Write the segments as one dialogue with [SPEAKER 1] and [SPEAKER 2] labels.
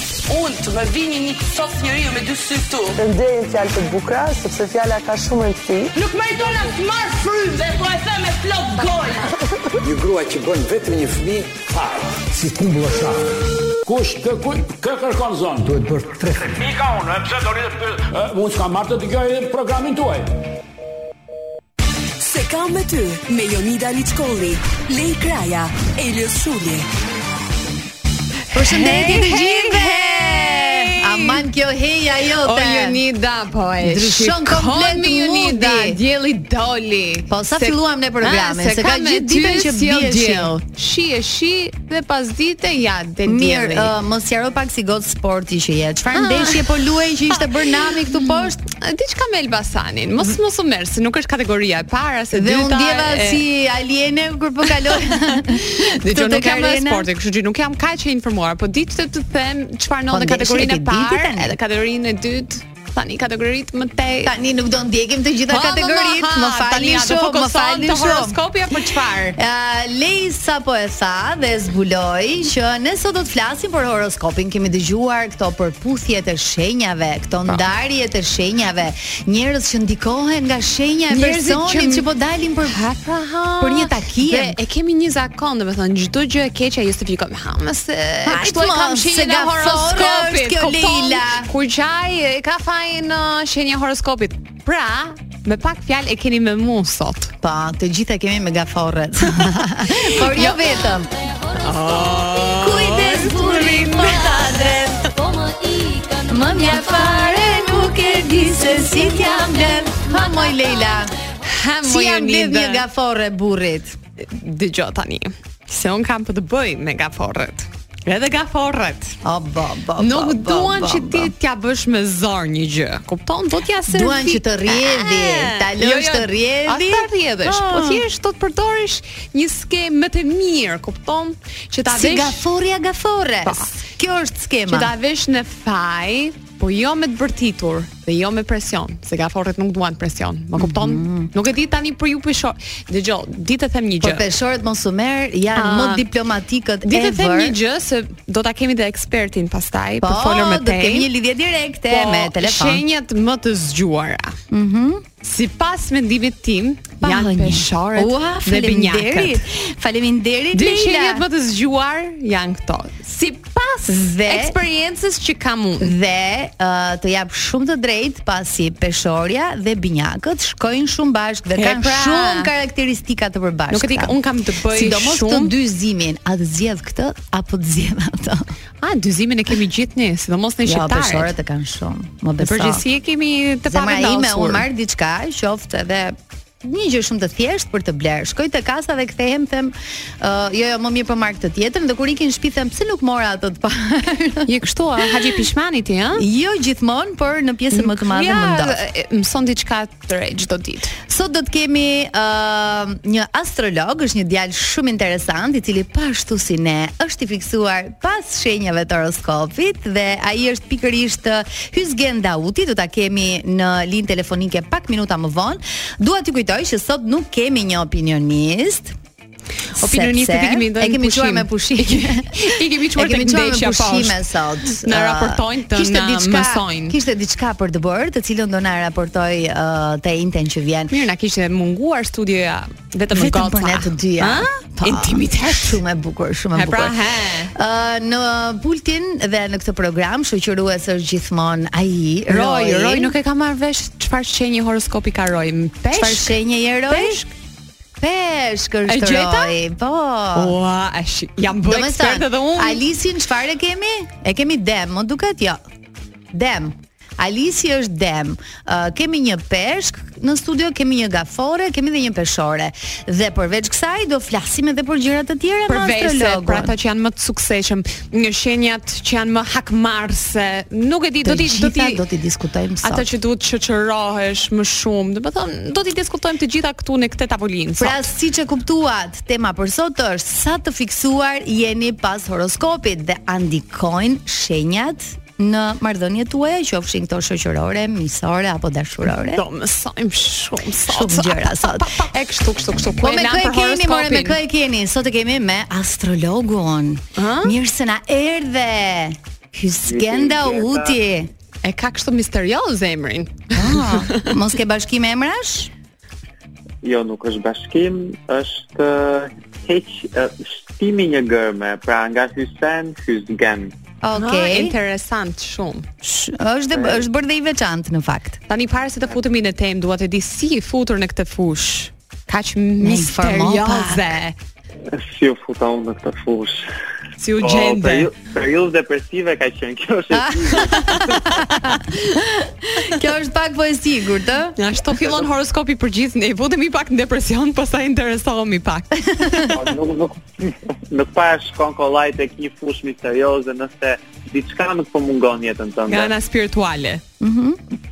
[SPEAKER 1] që më vini një sot njeriu me dy sy këtu.
[SPEAKER 2] Përndejnë fjalë të bukura, sepse fjala ka shumë rëndësi.
[SPEAKER 1] Nuk meriton as marr frymë dhe po e them me plot gojë.
[SPEAKER 3] Një grua që bën vetëm një fëmijë, fare.
[SPEAKER 4] si kumbulla shafë.
[SPEAKER 5] Kush kë kë kë kërkon zonë?
[SPEAKER 4] Duhet bërë tre
[SPEAKER 5] Mika unë, e pse do rritë pyet? Unë s'kam marrë të dëgjoj programin tuaj.
[SPEAKER 6] Se kam me ty me Jonida Liçkolli, Lej Kraja, Elios Shulli.
[SPEAKER 7] Përshëndetje të
[SPEAKER 8] Hej,
[SPEAKER 7] gjithëve.
[SPEAKER 8] hej!
[SPEAKER 7] Aman kjo heja
[SPEAKER 8] O
[SPEAKER 7] jote.
[SPEAKER 8] Jonida, po e
[SPEAKER 7] Ndryshon
[SPEAKER 8] shikon
[SPEAKER 7] komplet
[SPEAKER 8] me Jonida,
[SPEAKER 7] mundi.
[SPEAKER 8] djeli doli.
[SPEAKER 7] Po, sa filluam ne programin,
[SPEAKER 8] A,
[SPEAKER 7] se ka
[SPEAKER 8] me
[SPEAKER 7] gjithë
[SPEAKER 8] ty
[SPEAKER 7] ditën që
[SPEAKER 8] si o
[SPEAKER 7] bie
[SPEAKER 8] gjell. Shi e shi dhe pas dite ja del
[SPEAKER 7] Mirë,
[SPEAKER 8] djeli.
[SPEAKER 7] uh, mos jaro pak si god sporti që je. Çfarë ndeshje po luaj që ishte bërë nami këtu poshtë?
[SPEAKER 8] Mm. diçka me Elbasanin. Mos mos u merr se nuk është kategoria e para se
[SPEAKER 7] Dhe unë
[SPEAKER 8] dyta
[SPEAKER 7] ndjeva
[SPEAKER 8] e-
[SPEAKER 7] si aliene kur po kaloj.
[SPEAKER 8] Dhe që
[SPEAKER 7] Këtu tek
[SPEAKER 8] nuk jam e
[SPEAKER 7] arena.
[SPEAKER 8] sporti, kështu që nuk jam kaq e informuar, po di që të them çfarë ndodh në
[SPEAKER 7] ndeshjen
[SPEAKER 8] kategorinë e
[SPEAKER 7] e ke ditë
[SPEAKER 8] parë,
[SPEAKER 7] tani?
[SPEAKER 8] edhe kategorinë e dytë, tani kategoritë më Po, tej.
[SPEAKER 7] Tani nuk do ndjekim të gjitha kategoritë, më falni shumë, më falni shumë.
[SPEAKER 8] Horoskopi apo çfarë?
[SPEAKER 7] Uh, Lej sa po e tha dhe zbuloi që ne sot do të flasim për horoskopin. Kemi dëgjuar këto përputhjet e shenjave, këto ndarjet e shenjave, njerëz që ndikohen nga shenja e
[SPEAKER 8] Njerëzit
[SPEAKER 7] personit
[SPEAKER 8] që-
[SPEAKER 7] që po dalin për për një takim.
[SPEAKER 8] Dhe e kemi një zakon, domethënë çdo gjë e keqe justifikohet me ha. Se
[SPEAKER 7] Hajt
[SPEAKER 8] kështu e kam
[SPEAKER 7] mos, se
[SPEAKER 8] shenjën e
[SPEAKER 7] ga forre është
[SPEAKER 8] horoskopit.
[SPEAKER 7] kjo
[SPEAKER 8] kupton?
[SPEAKER 7] Leila.
[SPEAKER 8] Kur qaj e ka fajin uh, shenjë e horoskopit. Pra, me pak fjalë e keni me mua sot.
[SPEAKER 7] Po, të gjitha kemi me gaforret. Por jo vetëm.
[SPEAKER 8] Oh,
[SPEAKER 7] Kujdes burri po ta dret.
[SPEAKER 8] Po
[SPEAKER 7] Më mja fare nuk e di se si t'ja mbledh. Ha moj Leila.
[SPEAKER 8] Ha,
[SPEAKER 7] Si jam mbledh një gaforre burrit.
[SPEAKER 8] Dëgjoj tani. Se un kam për të bëj me gaforret. Edhe gaforret.
[SPEAKER 7] O bo bo. bo,
[SPEAKER 8] Nuk
[SPEAKER 7] bo,
[SPEAKER 8] duan
[SPEAKER 7] bo,
[SPEAKER 8] që ti
[SPEAKER 7] bo.
[SPEAKER 8] t'ja bësh me zor një gjë. Kupton? Do t'ja servi.
[SPEAKER 7] Duan që të rrjedhi,
[SPEAKER 8] Ah,
[SPEAKER 7] ta lësh të rrjedhi.
[SPEAKER 8] Ata rrjedhesh, po
[SPEAKER 7] Ah.
[SPEAKER 8] thjesht do të përdorish një skemë më të mirë, kupton? Që ta
[SPEAKER 7] Si
[SPEAKER 8] vesh
[SPEAKER 7] gaforja
[SPEAKER 8] Po.
[SPEAKER 7] gafores. Kjo
[SPEAKER 8] që
[SPEAKER 7] është
[SPEAKER 8] ta
[SPEAKER 7] skema.
[SPEAKER 8] vesh në faj, po jo me të bërtitur dhe jo me presion, se gaforret nuk duan presion. Më kupton? Nuk e di tani për ju peshor. Dgjoj, di të them një
[SPEAKER 7] Po
[SPEAKER 8] gjë.
[SPEAKER 7] peshorët mos u merr, janë
[SPEAKER 8] Ah.
[SPEAKER 7] më diplomatikët
[SPEAKER 8] Di të
[SPEAKER 7] ever.
[SPEAKER 8] them një gjë se do ta kemi dhe ekspertin pastaj
[SPEAKER 7] Po,
[SPEAKER 8] për folur me
[SPEAKER 7] do
[SPEAKER 8] te.
[SPEAKER 7] të kemi një lidhje direkte
[SPEAKER 8] Po,
[SPEAKER 7] me telefon.
[SPEAKER 8] Shenjat më të zgjuara. Mhm. Sipas mendimit tim,
[SPEAKER 7] Pa
[SPEAKER 8] janë
[SPEAKER 7] hënje.
[SPEAKER 8] peshorët
[SPEAKER 7] Ua,
[SPEAKER 8] dhe
[SPEAKER 7] faleminderit.
[SPEAKER 8] binjakët.
[SPEAKER 7] Faleminderit
[SPEAKER 8] Dy shenjat
[SPEAKER 7] Leila.
[SPEAKER 8] më të zgjuar janë këto. Sipas
[SPEAKER 7] Dhe-
[SPEAKER 8] eksperiencës që kam unë.
[SPEAKER 7] Dhe uh, të jap shumë të drejtë pasi peshorja dhe binjakët shkojnë shumë bashkë dhe
[SPEAKER 8] E
[SPEAKER 7] kanë
[SPEAKER 8] pra.
[SPEAKER 7] shumë karakteristika të përbashkëta.
[SPEAKER 8] Nuk e di, un kam të bëj
[SPEAKER 7] Sidomos të
[SPEAKER 8] shumë-
[SPEAKER 7] dy zimin, a të zgjedh këtë apo të zgjedh atë?
[SPEAKER 8] A dyzimin e kemi gjithë ne, sidomos ne
[SPEAKER 7] Jo,
[SPEAKER 8] shqiptarët.
[SPEAKER 7] peshorët e kanë shumë, më
[SPEAKER 8] Në
[SPEAKER 7] beso.
[SPEAKER 8] përgjithësi e kemi të
[SPEAKER 7] Zemra ime u
[SPEAKER 8] pavendosur.
[SPEAKER 7] marr diçka, qoftë edhe një gjë shumë të thjeshtë për të bler. Shkoj te kasa dhe kthehem them, "Ë, jo jo, më mirë po marr këtë tjetër, dhe kur ikin në shtëpi them, pse nuk mora atë të parë?
[SPEAKER 8] Je kështu, a Haxhi Pishmani ti, ha?
[SPEAKER 7] jo gjithmonë, por në pjesën më të madhe më ndodh.
[SPEAKER 8] e, mëson diçka të re çdo ditë.
[SPEAKER 7] Sot do të kemi uh, një astrolog, është një djalë shumë interesant, i cili pa ashtu si ne është i fiksuar pas shenjave të horoskopit dhe ai është pikërisht ë, Hysgen Dauti, do ta kemi në linjë telefonike pak minuta më vonë. Dua t'ju kujtoj që sot nuk kemi një opinionist.
[SPEAKER 8] Opinionistët i kemi dhënë
[SPEAKER 7] E kemi
[SPEAKER 8] pushim.
[SPEAKER 7] çuar me pushim.
[SPEAKER 8] I kemi- i kemi çuar
[SPEAKER 7] E kemi
[SPEAKER 8] tek
[SPEAKER 7] çuar me
[SPEAKER 8] ndeshja
[SPEAKER 7] pushime
[SPEAKER 8] poshtë.
[SPEAKER 7] sot.
[SPEAKER 8] Na
[SPEAKER 7] Ë,
[SPEAKER 8] raportojnë të
[SPEAKER 7] kishte
[SPEAKER 8] na
[SPEAKER 7] diçka-
[SPEAKER 8] mësojnë.
[SPEAKER 7] Kishte diçka për të bërë, të cilën do na raportoj uh, te Inten që vjen.
[SPEAKER 8] Mirë, na kishte munguar studioja vetëm në
[SPEAKER 7] Vetëm
[SPEAKER 8] goca.
[SPEAKER 7] për ne të dyja.
[SPEAKER 8] Po.
[SPEAKER 7] Po,
[SPEAKER 8] Intimitet.
[SPEAKER 7] Shumë e bukur, shumë e
[SPEAKER 8] E pra,
[SPEAKER 7] bukur.
[SPEAKER 8] he.
[SPEAKER 7] Ë, në pultin dhe në këtë program shoqërues është gjithmonë ai
[SPEAKER 8] Roj, Roj nuk e ka marrë vesh çfarë shenjë horoskopi ka Roj. Peshk.
[SPEAKER 7] çfarë shenje je Roj?
[SPEAKER 8] Peshk?
[SPEAKER 7] Peshk
[SPEAKER 8] E
[SPEAKER 7] është
[SPEAKER 8] gjeta?
[SPEAKER 7] Roj. Po.
[SPEAKER 8] Ua, e shi- jam bërë
[SPEAKER 7] me
[SPEAKER 8] ekspert edhe unë.
[SPEAKER 7] Alisin çfarë kemi? E kemi dem, më duket jo. Dem. Alisi është dem. Uh, kemi një peshk në studio, kemi një gafore, kemi dhe një peshore. Dhe përveç kësaj do flasim edhe për gjëra të tjera
[SPEAKER 8] për
[SPEAKER 7] me
[SPEAKER 8] veset,
[SPEAKER 7] astrologun.
[SPEAKER 8] për ata që janë më të suksesshëm, në shenjat që janë më hakmarrse. Nuk e di, do
[SPEAKER 7] Të
[SPEAKER 8] ti do ti
[SPEAKER 7] gjitha do t'i diskutojmë sot.
[SPEAKER 8] Ata që duhet të shoqërohesh më shumë, do të thonë, do t'i diskutojmë të gjitha këtu në këtë tavolinë. sot.
[SPEAKER 7] Pra siç e kuptuat, tema për sot është sa të fiksuar jeni pas horoskopit dhe a ndikojnë shenjat në marrëdhëniet tuaja, qofshin këto shoqërore, miqësore apo dashurore.
[SPEAKER 8] do mësojmë shumë sot.
[SPEAKER 7] Shumë gjëra sot.
[SPEAKER 8] Pa, pa, pa, E kështu, kështu, kështu.
[SPEAKER 7] Po me
[SPEAKER 8] lan
[SPEAKER 7] kë e
[SPEAKER 8] për
[SPEAKER 7] keni, more me
[SPEAKER 8] horoskopin.
[SPEAKER 7] kë e keni. Sot e kemi me astrologun.
[SPEAKER 8] Ë?
[SPEAKER 7] Mirë se na erdhe.
[SPEAKER 4] Hyskenda.
[SPEAKER 7] Hyskenda Uti.
[SPEAKER 8] E ka kështu misterioz emrin.
[SPEAKER 7] Ah, mos ke bashkim emrash?
[SPEAKER 4] Jo, nuk është bashkim, është ë, heq ë, shtimi një gërme, pra nga Hysen, Hysgen.
[SPEAKER 8] Ah,
[SPEAKER 7] Okej.
[SPEAKER 8] interesant shumë.
[SPEAKER 7] Sh- Është dhe- është bërë dhe i veçantë në fakt.
[SPEAKER 8] Tani para se të futemi në temë, dua të di si i futur në këtë fushë. Kaq
[SPEAKER 7] informo
[SPEAKER 8] misterioze.
[SPEAKER 4] Si u futa unë në këtë fushë.
[SPEAKER 8] Si u gjende. Ah.
[SPEAKER 4] periu- periudhë depresive ka qenë kjo është.
[SPEAKER 7] Kjo është pak po e sigurt, ë?
[SPEAKER 8] Ja, ashtu fillon horoskopi për gjithë ne. Votemi pak në depresion, pastaj interesohemi pak.
[SPEAKER 4] Po, nuk nuk nuk pa shkon kollaj tek një fushë misterioze nëse diçka nuk po mungon në jetën tënde.
[SPEAKER 8] Nga ana spirituale.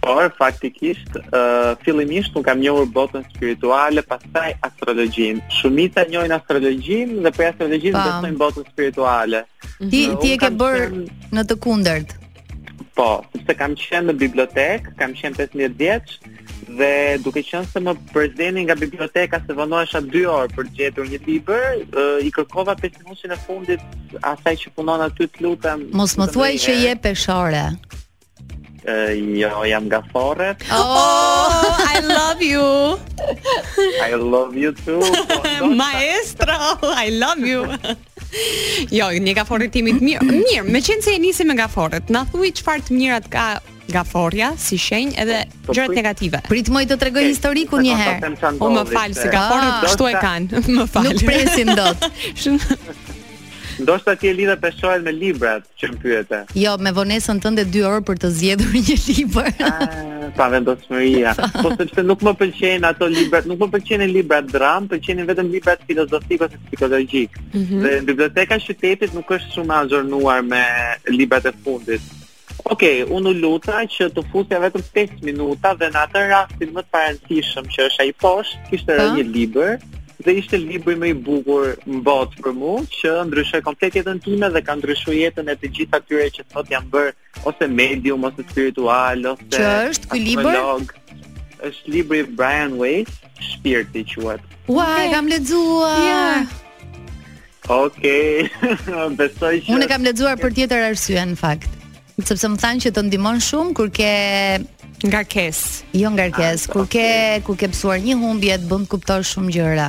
[SPEAKER 4] Por faktikisht, uh, fillimisht unë kam njohur botën spirituale, pastaj astrologjinë. Shumica njohin astrologjinë dhe për astrologjinë
[SPEAKER 7] Pam.
[SPEAKER 4] besojnë botën spirituale.
[SPEAKER 7] Ti
[SPEAKER 4] Mhm.
[SPEAKER 7] ti e
[SPEAKER 4] Unë
[SPEAKER 7] ke
[SPEAKER 4] kam
[SPEAKER 7] bër
[SPEAKER 4] qenë-
[SPEAKER 7] në të kundërt.
[SPEAKER 4] Po, sepse kam qenë në bibliotekë, kam qenë 15 vjeç dhe duke qenë se më përzeni nga biblioteka se vënohesha 2 orë për të gjetur një libër, eh, i kërkova pesimusin e fundit asaj që punon aty të lutem.
[SPEAKER 7] Mos më
[SPEAKER 4] lutem
[SPEAKER 7] thuaj që je
[SPEAKER 4] ndonjëherë.
[SPEAKER 7] peshore.
[SPEAKER 4] Eh, jo, jam nga Forre.
[SPEAKER 7] Oh,
[SPEAKER 8] Oh, I love you.
[SPEAKER 4] I love you too. Po, ndoshta-
[SPEAKER 8] Maestro, I love you. jo, një gaforë timit mirë. Mirë, me qenë se e nisim me gaforët, na thuj çfarë të mirat ka gaforja si shenjë edhe
[SPEAKER 4] Po,
[SPEAKER 8] gjërat
[SPEAKER 4] prit-
[SPEAKER 8] negative.
[SPEAKER 7] pritmoj të tregoj historikun një herë.
[SPEAKER 8] O më fal se gaforët
[SPEAKER 7] Ah.
[SPEAKER 8] kështu e kanë. Më fal.
[SPEAKER 7] Nuk presin dot.
[SPEAKER 8] Shumë-
[SPEAKER 4] Ndoshta ti e lidhe peshoren me librat që më pyete.
[SPEAKER 7] Jo, me vonesën tënde 2 orë për të zgjedhur një libër.
[SPEAKER 4] Ah, pa vendosmëria. po sepse nuk më pëlqejnë ato librat, nuk më pëlqejnë librat dram, pëlqejnë vetëm librat filozofik ose psikologjik. Dhe biblioteka e qytetit nuk është shumë e azhurnuar me librat e fundit. Okej, unë u luta që të fusja vetëm 5 minuta dhe në atë rastin më të parëndësishëm që është ai poshtë, kishte
[SPEAKER 7] Pa.
[SPEAKER 4] rënë një libër dhe ishte libri më i bukur në botë për mua që ndryshoi komplet jetën time dhe ka ndryshuar jetën e të gjithë atyre që sot janë bërë ose medium ose spiritual ose
[SPEAKER 7] Që është ky libër?
[SPEAKER 4] astrolog. Është libri i Brian Weiss, Shpirti quhet.
[SPEAKER 7] Ua, e kam lexuar.
[SPEAKER 8] Ja.
[SPEAKER 4] Okej. Besoj që
[SPEAKER 7] Unë e kam lexuar për tjetër arsye në fakt. Sepse më thanë që të ndihmon shumë kur ke
[SPEAKER 8] Nga kes.
[SPEAKER 7] jo ngarkesë,
[SPEAKER 4] Ah,
[SPEAKER 7] kur ke kur ke psuar një humbje të bën të kuptosh shumë gjëra.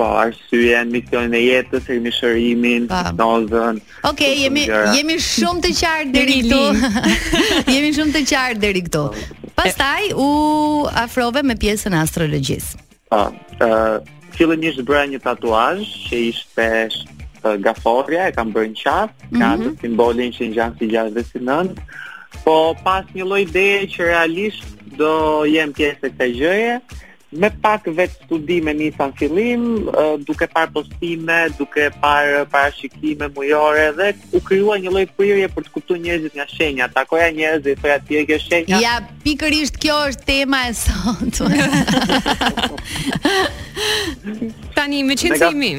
[SPEAKER 4] po arsyen, misionin e jetës, rimishërimin,
[SPEAKER 7] Pa.
[SPEAKER 4] hipnozën.
[SPEAKER 7] Okej,
[SPEAKER 4] shumë
[SPEAKER 7] jemi
[SPEAKER 4] gjëra.
[SPEAKER 7] jemi shumë të qartë deri
[SPEAKER 8] Jemi
[SPEAKER 7] këtu. jemi shumë të qartë deri këtu. Pastaj u afrove me pjesën e astrologjisë.
[SPEAKER 4] Po. ë, fillimisht bëra një tatuazh që ishte sh- ë, gaforja, e kam bërë në qafë, ka atë simbolin që ngjan si 6 dhe si 9. Po pas një lloj ideje që realisht do jem pjesë e kësaj gjëje, me pak vetë studime nisa në fillim, ë, duke parë postime, duke parë parashikime mujore dhe u krijua një lloj prirje për të kuptuar njerëzit nga shenja. Takoja njerëz dhe i thoja ti e ke shenja.
[SPEAKER 7] Ja, pikërisht kjo është tema e sotme.
[SPEAKER 8] Tani me qenë
[SPEAKER 4] Me
[SPEAKER 8] se
[SPEAKER 4] ga-
[SPEAKER 8] imi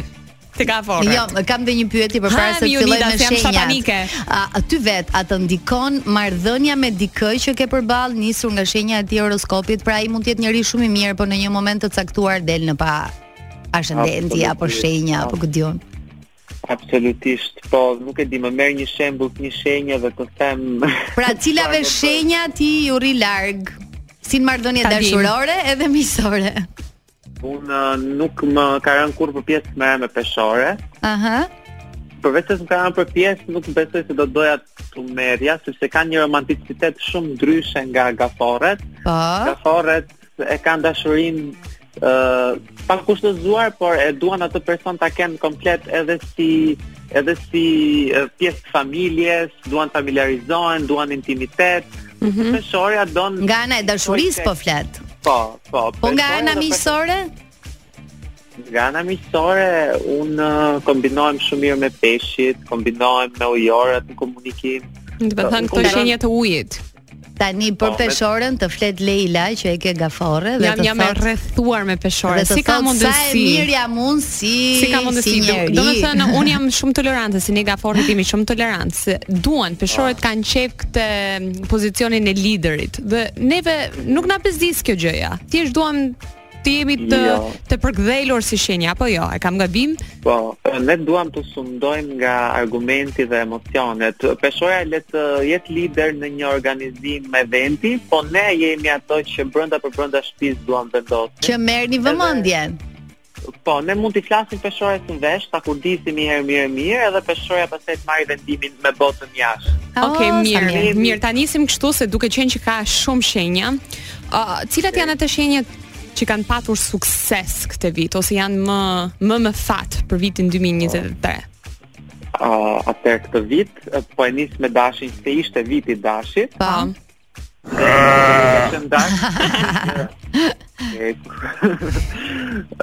[SPEAKER 8] te gaforët.
[SPEAKER 7] Jo, kam dhe një pyetje përpara
[SPEAKER 8] Ha,
[SPEAKER 7] se
[SPEAKER 8] mi
[SPEAKER 7] të filloj me
[SPEAKER 8] Jonida, se jam satanike.
[SPEAKER 7] shenjat. A a ty vet, a të ndikon marrëdhënia me dikë që ke përball nisur nga shenja e tij horoskopit, pra ai mund të jetë njëri shumë i mirë, por në një moment të caktuar del në pa ashendenti apo
[SPEAKER 4] Absolutisht.
[SPEAKER 7] shenja apo ku diun.
[SPEAKER 4] Absolutisht, po nuk e di, më merr një shembull të një shenje dhe të them
[SPEAKER 7] Pra cilave shenja ti ju ri larg? Si në marrëdhënie
[SPEAKER 8] Ta dim.
[SPEAKER 7] dashurore edhe miqësore.
[SPEAKER 4] unë uh, nuk më ka rënë kur për pjesë më me peshore.
[SPEAKER 7] Aha.
[SPEAKER 4] Përveç se më ka rënë për pjesë, nuk besoj se do doja të merja sepse kanë një romanticitet shumë ndryshe nga gaforret.
[SPEAKER 7] Po.
[SPEAKER 4] Gaforret e kanë dashurinë ë pa kushtëzuar, por e duan atë person ta kenë komplet edhe si edhe si ë, pjesë të familjes, duan të familiarizohen, duan intimitet. Mm -hmm. Peshorja don
[SPEAKER 7] Mhm. Nga ana e dashurisë po flet.
[SPEAKER 4] Po, po.
[SPEAKER 7] Po nga
[SPEAKER 4] Personja
[SPEAKER 7] ana
[SPEAKER 4] dhe
[SPEAKER 7] miqësore?
[SPEAKER 4] person- Nga ana miqësore unë uh, kombinohem shumë mirë me peshqit, kombinohem me ujorët në komunikim.
[SPEAKER 8] Do të thënë
[SPEAKER 4] Po,
[SPEAKER 8] këto
[SPEAKER 4] unë-
[SPEAKER 8] shenja të ujit.
[SPEAKER 7] Tani për
[SPEAKER 4] Po, me-
[SPEAKER 7] peshorën të flet Leila që e ke gaforre dhe
[SPEAKER 8] Jam
[SPEAKER 7] të
[SPEAKER 8] jam e
[SPEAKER 7] thotë-
[SPEAKER 8] rrethuar me peshore.
[SPEAKER 7] Dhe të
[SPEAKER 8] Si ka
[SPEAKER 7] thotë, Sa e mirë
[SPEAKER 8] mundësi?
[SPEAKER 7] jam unë si
[SPEAKER 8] Si ka mundësi?
[SPEAKER 7] Si njeri.
[SPEAKER 8] Do të thënë un jam shumë tolerante, si ne gaforët jemi shumë tolerant. Se duan peshorët
[SPEAKER 7] Oh.
[SPEAKER 8] kanë qef këtë mm, pozicionin e liderit. Dhe neve nuk na bezdis kjo gjëja. Thjesht duam të jemi të
[SPEAKER 4] Jo.
[SPEAKER 8] të përkdhelur si shenja apo jo? E kam gabim?
[SPEAKER 4] Po, ne duam të sundojmë nga argumenti dhe emocionet. Peshoja le të jetë lider në një organizim eventi, po ne jemi ato që brenda për brenda shtëpisë duam vendosim.
[SPEAKER 7] Që merrni vëmendjen.
[SPEAKER 4] Po, ne mund t'i flasim peshorës në vesh, ta kurdisim i herë mirë mirë, edhe peshoja pastaj të marrë vendimin me botën jashtë.
[SPEAKER 7] Ah,
[SPEAKER 8] Okej,
[SPEAKER 7] sa
[SPEAKER 8] mirë.
[SPEAKER 7] mirë.
[SPEAKER 8] Mirë, ta nisim kështu se duke qenë që ka shumë shenja. Uh, cilat janë ato shenjat që kanë patur sukses këtë vit ose janë më më më fat për
[SPEAKER 7] Po.
[SPEAKER 8] vitin 2023?
[SPEAKER 4] Uh, atër këtë vit, eh, po e nis me dashin se ishte viti i dashit.
[SPEAKER 7] Po.
[SPEAKER 4] Ishte dash. Eh,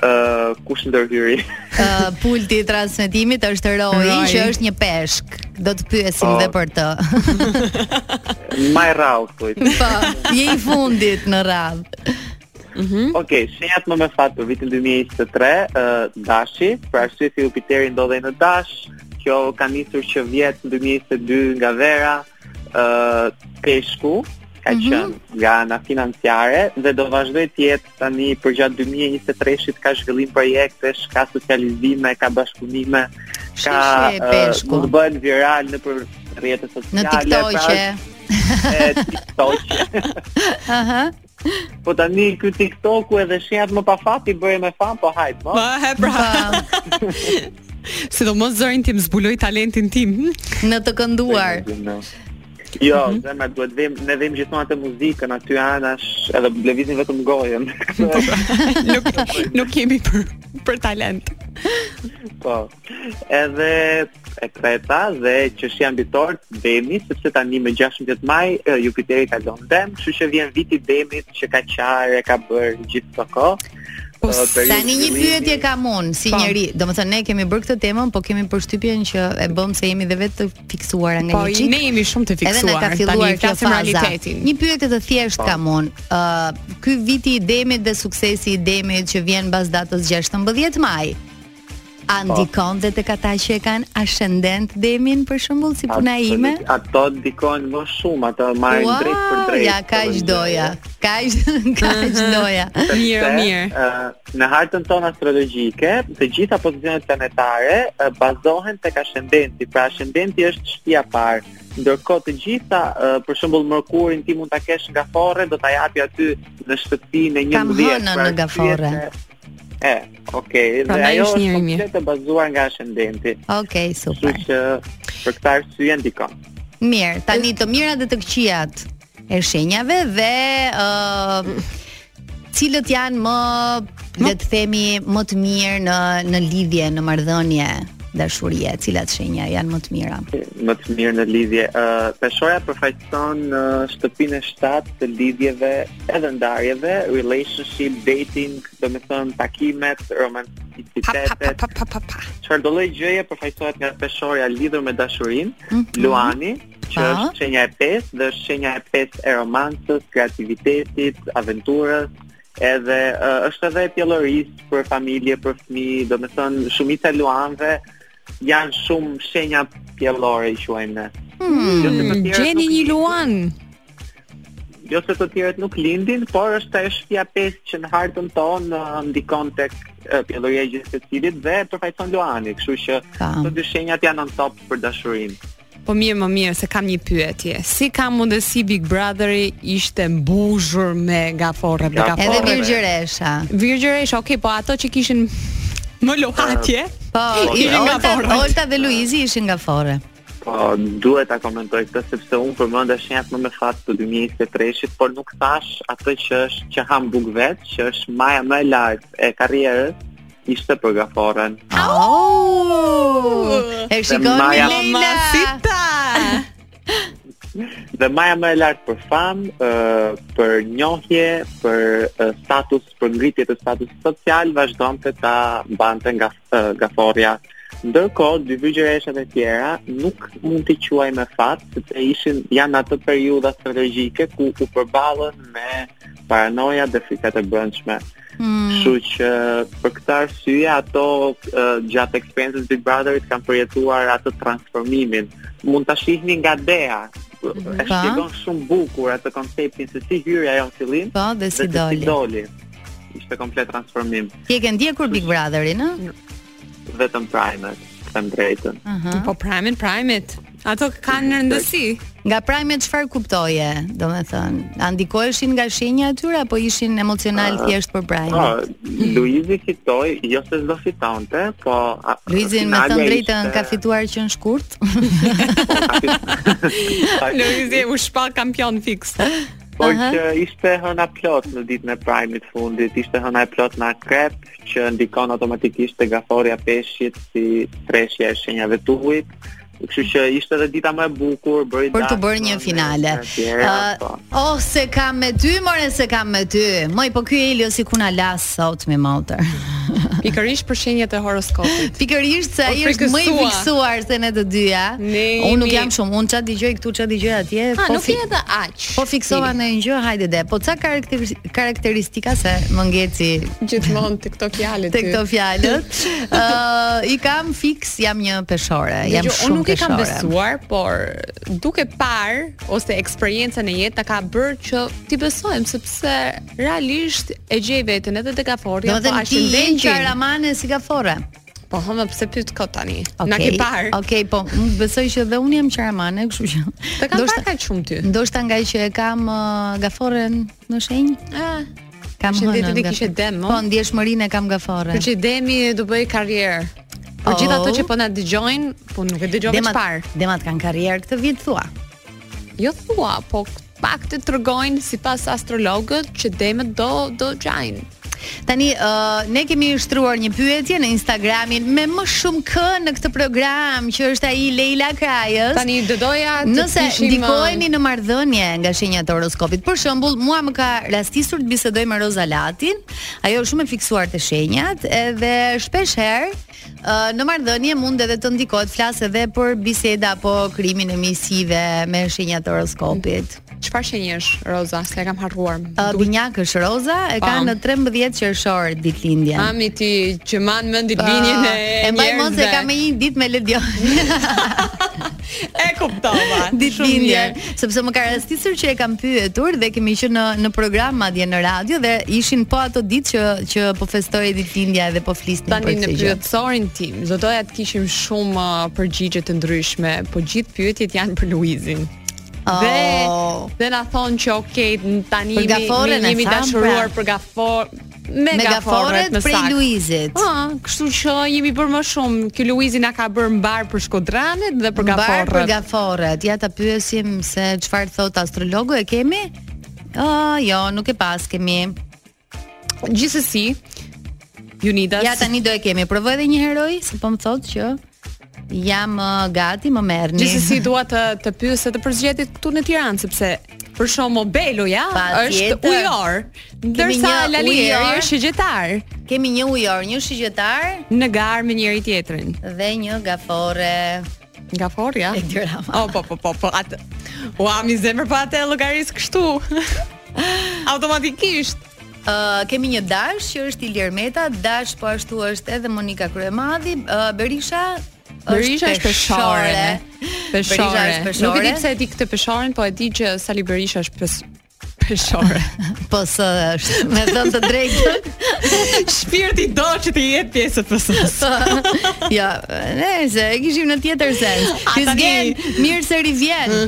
[SPEAKER 4] eh, kush ndërhyri?
[SPEAKER 7] Ë, pulti i transmetimit është Roy,
[SPEAKER 8] Roy.
[SPEAKER 7] që është një peshk. Do të pyesim
[SPEAKER 4] Po.
[SPEAKER 7] dhe për të.
[SPEAKER 4] Maj Rau, thuj.
[SPEAKER 7] po, je i fundit në radhë.
[SPEAKER 4] Okej, shenjat më me fat për vitin 2023, uh, dashi, për arsye se Jupiteri ndodhej në dash, kjo ka nisur që vjet në 2022 nga vera, uh, peshku, ka
[SPEAKER 7] Mhm.
[SPEAKER 4] qenë nga ana financiare dhe do vazhdoj të jetë tani përgjatë 2023-shit ka zhvillim projektesh, ka socializime, ka bashkëpunime, ka
[SPEAKER 7] Shishe e
[SPEAKER 4] ë,
[SPEAKER 7] peshku.
[SPEAKER 4] mund të bëhen viral në për rrjetet sociale,
[SPEAKER 7] Në TikTok-e.
[SPEAKER 4] pra, e, TikTok.
[SPEAKER 7] Aha.
[SPEAKER 4] Po tani ky TikToku edhe shenjat më pa fat i bëri me fan, po hajt, po.
[SPEAKER 8] Pa, e pra.
[SPEAKER 7] po.
[SPEAKER 8] Sidomos zërin tim zbuloj talentin tim.
[SPEAKER 7] Në të kënduar.
[SPEAKER 4] Jo,
[SPEAKER 7] Mhm.
[SPEAKER 4] zemra duhet vim, ne vim gjithmonë atë muzikën aty anash, edhe lëvizin vetëm gojën.
[SPEAKER 8] nuk nuk kemi për për talent.
[SPEAKER 4] po. Edhe e treta dhe që shi ambitor Demi, sepse tani me 16 maj e, Jupiteri ka lënë Dem, kështu që vjen viti i Demit që ka qarë, ka bërë gjithë të kohë.
[SPEAKER 8] Po,
[SPEAKER 4] Ë, periudhë
[SPEAKER 7] Tani një
[SPEAKER 4] fillimi.
[SPEAKER 7] pyetje kam unë si
[SPEAKER 8] Po.
[SPEAKER 7] njeri, domethënë ne kemi bërë këtë temën, po kemi përshtypjen që e bëm se jemi dhe vetë të fiksuara nga
[SPEAKER 8] Po
[SPEAKER 7] një
[SPEAKER 8] ne
[SPEAKER 7] çik.
[SPEAKER 8] jemi shumë të
[SPEAKER 7] Edhe na
[SPEAKER 8] fiksuar.
[SPEAKER 7] ka filluar kjo
[SPEAKER 8] flasim
[SPEAKER 7] faza.
[SPEAKER 8] realitetin.
[SPEAKER 7] Një pyetje të thjeshtë kam unë. Ë, ky viti i demit dhe suksesi i demit që vjen mbas datës 16 maj. A ndikon dhe tek ata që e kanë ascendent demin për shembull si puna ime?
[SPEAKER 4] Absolut- Ato ndikojnë më shumë, ato marrin
[SPEAKER 7] Ua,
[SPEAKER 4] drejt për drejt. po
[SPEAKER 7] ja kaq
[SPEAKER 4] Edhe-
[SPEAKER 7] doja. Kaq kaq doja.
[SPEAKER 8] Mirë,
[SPEAKER 4] Se,
[SPEAKER 8] mirë.
[SPEAKER 4] ë, në hartën tonë astrologjike, të gjitha pozicionet planetare ë, bazohen tek ascendenti, pra ascendenti është shtëpia e parë. Ndërkohë të gjitha, ë, për shembull Mërkurin ti mund ta kesh nga forre, do ta japi aty në shtëpinë e 11.
[SPEAKER 7] Kam hënën
[SPEAKER 4] pra
[SPEAKER 7] në nga
[SPEAKER 4] arsye
[SPEAKER 7] forre.
[SPEAKER 4] se- E, okay,
[SPEAKER 8] Pra,
[SPEAKER 4] dhe
[SPEAKER 8] na
[SPEAKER 4] ajo
[SPEAKER 8] është
[SPEAKER 4] është
[SPEAKER 8] njëri mirë.
[SPEAKER 4] komplet e bazuar nga ascendenti.
[SPEAKER 7] Okej,
[SPEAKER 4] Kështu
[SPEAKER 7] super.
[SPEAKER 4] që për këtë arsye ndikon.
[SPEAKER 7] Mirë, tani të mira dhe të këqijat e shenjave dhe ë cilët janë më le të themi më të mirë në në lidhje, në marrëdhënie dashurie, cilat shenja janë më të mira.
[SPEAKER 4] më të mirë në lidhje. Ë Peshoja përfaqëson uh, shtëpinë e shtatë të lidhjeve, edhe ndarjeve, relationship, dating, domethënë takimet,
[SPEAKER 8] Pa pa pa
[SPEAKER 4] romanticitetet,
[SPEAKER 8] pa pa pa. pa.
[SPEAKER 4] çfarëdo do lloj gjëje përfaqësohet nga peshorja lidhur me dashurinë, Luani, që
[SPEAKER 7] Pa.
[SPEAKER 4] është shenja e pesë dhe është shenja e pesë e romancës, kreativitetit, aventurës, edhe uh, është edhe e pjellorist për familje, për fëmijë, domethënë shumica e luanëve janë shumë shenja pjellore i quajmë ne. Jo se të
[SPEAKER 8] Mm,
[SPEAKER 4] tjerët
[SPEAKER 8] Gjeni
[SPEAKER 4] nuk-
[SPEAKER 8] një luan.
[SPEAKER 4] Jo se të tjerët nuk lindin, por është ajo shtëpia 5 që në hartën tonë ë, ndikon tek ë, pjelloria e gjithë secilit dhe përfaqëson Luani, kështu që
[SPEAKER 7] Pa.
[SPEAKER 4] këto dy shenjat janë on top për dashurinë.
[SPEAKER 8] Po mirë, më mirë se kam një pyetje. Si ka mundësi Big Brotheri ishte mbushur me gaforre dhe
[SPEAKER 4] Gaforre. Porre.
[SPEAKER 7] Edhe
[SPEAKER 8] gaforre?
[SPEAKER 4] Vir-
[SPEAKER 7] Virgjëresha.
[SPEAKER 8] Virgjëresh, okay, po ato që kishin më luhatje.
[SPEAKER 7] Po, i-
[SPEAKER 8] Ishin nga
[SPEAKER 7] Olta,
[SPEAKER 8] forret.
[SPEAKER 7] Olta dhe Luizi ishin nga forre.
[SPEAKER 4] Po duhet ta komentoj këtë sepse unë përmenda shenjat më me fat të 2023-shit, por nuk thash atë që është që ham buk vet, që është maja më e lartë e karrierës, ishte për Gaforën.
[SPEAKER 7] Au! E shikon me
[SPEAKER 4] Maja-
[SPEAKER 7] Leila.
[SPEAKER 8] Mamacita.
[SPEAKER 4] Dhe maja më e lartë për famë, ë, për njohje, për ë, status, për ngritje të status social, vazhdonte ta mbante nga ë, gaforja. Ndërkohë, dy vygjëreshat e tjera nuk mund t'i quaj me fat, sepse ishin janë ato periudha strategjike ku u përballën me paranoja dhe frikat e brendshme. Kështu që për këtë arsye ato uh, gjatë eksperiencës Big Brotherit kanë përjetuar atë transformimin. Mund ta shihni nga dea. E
[SPEAKER 7] Pa.
[SPEAKER 4] shpjegon shumë bukur atë konceptin se si hyri ajo në fillim
[SPEAKER 7] Po, dhe si
[SPEAKER 4] se
[SPEAKER 7] doli.
[SPEAKER 4] doli. ishte komplet transformim,
[SPEAKER 7] Ti e ke ndjekur Big Brotherin, ë?
[SPEAKER 4] vetëm primet, them drejtën.
[SPEAKER 8] Po primit, primit. Ato kanë rëndësi.
[SPEAKER 7] Nga Prime çfarë kuptoje? Domethënë, a ndikoheshin nga shenja e tyre apo ishin emocional thjesht për Prime?
[SPEAKER 4] Po, Luizi fitoi, jo se s'do fitonte, po a-
[SPEAKER 7] Luizin me
[SPEAKER 4] finalja
[SPEAKER 7] thënë drejtën
[SPEAKER 4] ishte-
[SPEAKER 7] ka fituar që në shkurt.
[SPEAKER 4] po, ka fitu-
[SPEAKER 8] Luizi u shpall kampion fiks.
[SPEAKER 4] Po që ishte hëna plot në ditën e primit fundit, ishte hëna e plot në akrep, që ndikon automatikisht të gaforja peshqit si treshja e shenjave të ujit. Kështu që ishte edhe dita më e bukur, bëri
[SPEAKER 7] për të
[SPEAKER 4] dashmë,
[SPEAKER 7] bërë një
[SPEAKER 4] me
[SPEAKER 7] finale.
[SPEAKER 4] të tjera,
[SPEAKER 7] Ë,
[SPEAKER 4] Ah, po.
[SPEAKER 7] oh, se kam me ty, more se kam me ty. Moj, po ky Elio si kuna las sot me motor.
[SPEAKER 8] Pikërisht për shenjat e horoskopit.
[SPEAKER 7] Pikërisht se ai
[SPEAKER 8] Po,
[SPEAKER 7] është më i
[SPEAKER 8] frikësua.
[SPEAKER 7] fiksuar se ne të dyja.
[SPEAKER 8] Ne
[SPEAKER 7] Unë nuk
[SPEAKER 8] jemi-
[SPEAKER 7] jam shumë, unë çfarë dëgjoj këtu, çfarë dëgjoj atje,
[SPEAKER 8] A,
[SPEAKER 7] po
[SPEAKER 8] Ah, nuk
[SPEAKER 7] fi-
[SPEAKER 8] je edhe aq.
[SPEAKER 7] Po fiksova në një gjë, hajde de. Po ca karakteri- karakteristika se më ngeci
[SPEAKER 8] gjithmonë të këto fjalë
[SPEAKER 7] te këto fjalët. Ë, i kam fiks, jam një peshore, jam
[SPEAKER 8] Dgjoj,
[SPEAKER 7] shumë
[SPEAKER 8] jo, unë nuk i kam
[SPEAKER 7] peshore.
[SPEAKER 8] besuar, por duke parë ose eksperjenca në jetë ta ka bërë që ti besojmë sepse realisht e gjej veten edhe tek afori apo
[SPEAKER 7] Domethënë ti je një
[SPEAKER 8] ashendentin.
[SPEAKER 7] qaramane si gafore.
[SPEAKER 8] Po hëmë pse pyet kot tani?
[SPEAKER 7] Okej.
[SPEAKER 8] Na ke parë.
[SPEAKER 7] Okej, po unë besoj që edhe unë jam qaramane, kështu që.
[SPEAKER 8] Të kam
[SPEAKER 7] ndoshta- Mm.
[SPEAKER 8] parë kaq shumë ty.
[SPEAKER 7] Ndoshta nga që e kam uh, gaforren në shenjë,
[SPEAKER 8] Ah,
[SPEAKER 7] kam
[SPEAKER 8] Shëndetit
[SPEAKER 7] hënën
[SPEAKER 8] i
[SPEAKER 7] gaforren.
[SPEAKER 8] kishe dem, mo?
[SPEAKER 7] Po ndjeshmërinë e kam gaforren.
[SPEAKER 8] Për që demi do bëj karrierë. Për
[SPEAKER 7] Oh.
[SPEAKER 8] gjithë ato që po na dëgjojnë, po nuk e dëgjova
[SPEAKER 7] Demat,
[SPEAKER 8] çfarë.
[SPEAKER 7] demat kanë karrierë këtë vit thua.
[SPEAKER 8] Jo thua, po pak të tregojnë sipas astrologët që demet do do gjajnë.
[SPEAKER 7] Tani uh, ne kemi shtruar një pyetje në Instagramin me më shumë k në këtë program që është ai Leila Krajës.
[SPEAKER 8] Tani do doja të
[SPEAKER 7] Nëse
[SPEAKER 8] kishim, um,
[SPEAKER 7] ndikoheni në marrëdhënie nga shenjat e horoskopit, për shembull, mua më ka rastisur të bisedoj me Roza Latin. Ajo është shumë e fiksuar te shenjat, edhe shpesh herë ë, në marrëdhënie mund edhe të ndikohet flas edhe për biseda apo krimin e misive me shenjat e horoskopit.
[SPEAKER 8] um, Çfarë shenjësh, Roza, se e kam harruar.
[SPEAKER 7] Ë, Binjak është Roza, e ka
[SPEAKER 8] Pam.
[SPEAKER 7] në 13 qershor ditëlindjen. Uh,
[SPEAKER 8] Mami ti që man mendit linjën e
[SPEAKER 7] e mbaj mos e
[SPEAKER 8] njerëzve.
[SPEAKER 7] ka me një ditë me Ledion.
[SPEAKER 8] E kuptova.
[SPEAKER 7] ditëlindjen,
[SPEAKER 8] mirë.
[SPEAKER 7] sepse më ka rastisur që e kam pyetur dhe kemi qenë në në program madje në radio dhe ishin po ato ditë që që po festoje ditëlindja dhe po flisnin
[SPEAKER 8] Tani
[SPEAKER 7] për
[SPEAKER 8] në
[SPEAKER 7] këtë gjë.
[SPEAKER 8] pyetësorin tim, do doja të kishim shumë uh, përgjigje të ndryshme, po gjithë pyetjet janë për Luizin. Dhe
[SPEAKER 7] Oh.
[SPEAKER 8] dhe na thonë që okay, n- tani
[SPEAKER 7] Për
[SPEAKER 8] jemi-
[SPEAKER 7] gaforën e
[SPEAKER 8] jemi
[SPEAKER 7] tham,
[SPEAKER 8] dashuruar
[SPEAKER 7] pra.
[SPEAKER 8] për gafor me,
[SPEAKER 7] Me gaforet
[SPEAKER 8] më
[SPEAKER 7] prej
[SPEAKER 8] saktë.
[SPEAKER 7] Luizit.
[SPEAKER 8] Ah, kështu që jemi bërë më shumë. Ky Luizi na ka bërë mbar për Shkodranet dhe për
[SPEAKER 7] Mbar për
[SPEAKER 8] gaforët.
[SPEAKER 7] gaforret. Ja ta pyesim se çfarë thot astrologu e kemi? Ah, jo, nuk e pas kemi.
[SPEAKER 8] Gjithsesi, Unidas.
[SPEAKER 7] Ja tani do e kemi. Provoj edhe një heroj, se po më thot që jam ë, gati, më merrni.
[SPEAKER 8] Gjithsesi dua të të pyes se të përzgjedhit këtu në Tiranë sepse për shembull Beloja
[SPEAKER 7] Pa
[SPEAKER 8] është
[SPEAKER 7] tjetër.
[SPEAKER 8] ujor, ndërsa
[SPEAKER 7] një ujor.
[SPEAKER 8] Lalieri është gjetar
[SPEAKER 7] kemi një ujor, një shigjetar
[SPEAKER 8] në garë me njëri tjetrin.
[SPEAKER 7] dhe një gaforre.
[SPEAKER 8] Nga forja.
[SPEAKER 7] E Tirana.
[SPEAKER 8] O po po po po atë. Ua mi zemër pa atë llogaris kështu. Automatikisht.
[SPEAKER 7] Ë, kemi një dash që është Ilir Meta, dash po ashtu është edhe Monika Kryemadhi, Ë, Berisha
[SPEAKER 8] Berisha është peshore. Peshore.
[SPEAKER 7] Berisha është peshore.
[SPEAKER 8] Nuk e di pse e di këtë peshoren, po e di që Sali Berisha është pes peshore.
[SPEAKER 7] Po së është, me thënë të drejtën.
[SPEAKER 8] Shpirti do që të jetë pjesë e PS-s.
[SPEAKER 7] ja, nëse e kishim në tjetër sens.
[SPEAKER 8] A,
[SPEAKER 7] Ti
[SPEAKER 8] tani-
[SPEAKER 7] zgjen, mirë se rivjen.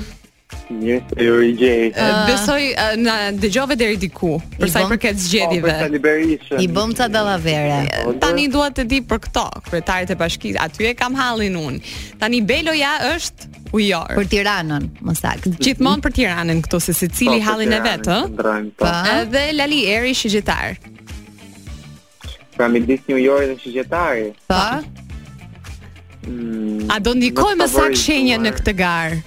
[SPEAKER 4] Një teori gjej.
[SPEAKER 8] Besoj uh, na dëgjove deri diku për sa i
[SPEAKER 7] bëm-
[SPEAKER 8] përket
[SPEAKER 4] Po, për
[SPEAKER 8] zgjedhjeve.
[SPEAKER 4] Saliberishën. po,
[SPEAKER 7] I bëm ca dallavere.
[SPEAKER 8] Tani dua të di për këto kryetarit e bashkisë. Aty e kam hallin unë. Tani Beloja është ujor.
[SPEAKER 7] Për Tiranën, më saktë.
[SPEAKER 8] Gjithmonë për Tiranën këtu se
[SPEAKER 4] Po,
[SPEAKER 8] secili
[SPEAKER 4] për
[SPEAKER 8] hallin e
[SPEAKER 4] Tiranën
[SPEAKER 8] vet, ë.
[SPEAKER 4] qëndrojnë, Po.
[SPEAKER 7] Pa.
[SPEAKER 8] Edhe Lali Eri shigjetar.
[SPEAKER 4] Pra midis New York dhe Shigjetari.
[SPEAKER 7] Po,
[SPEAKER 8] A do ndikoj më sakt shenjën në këtë garë?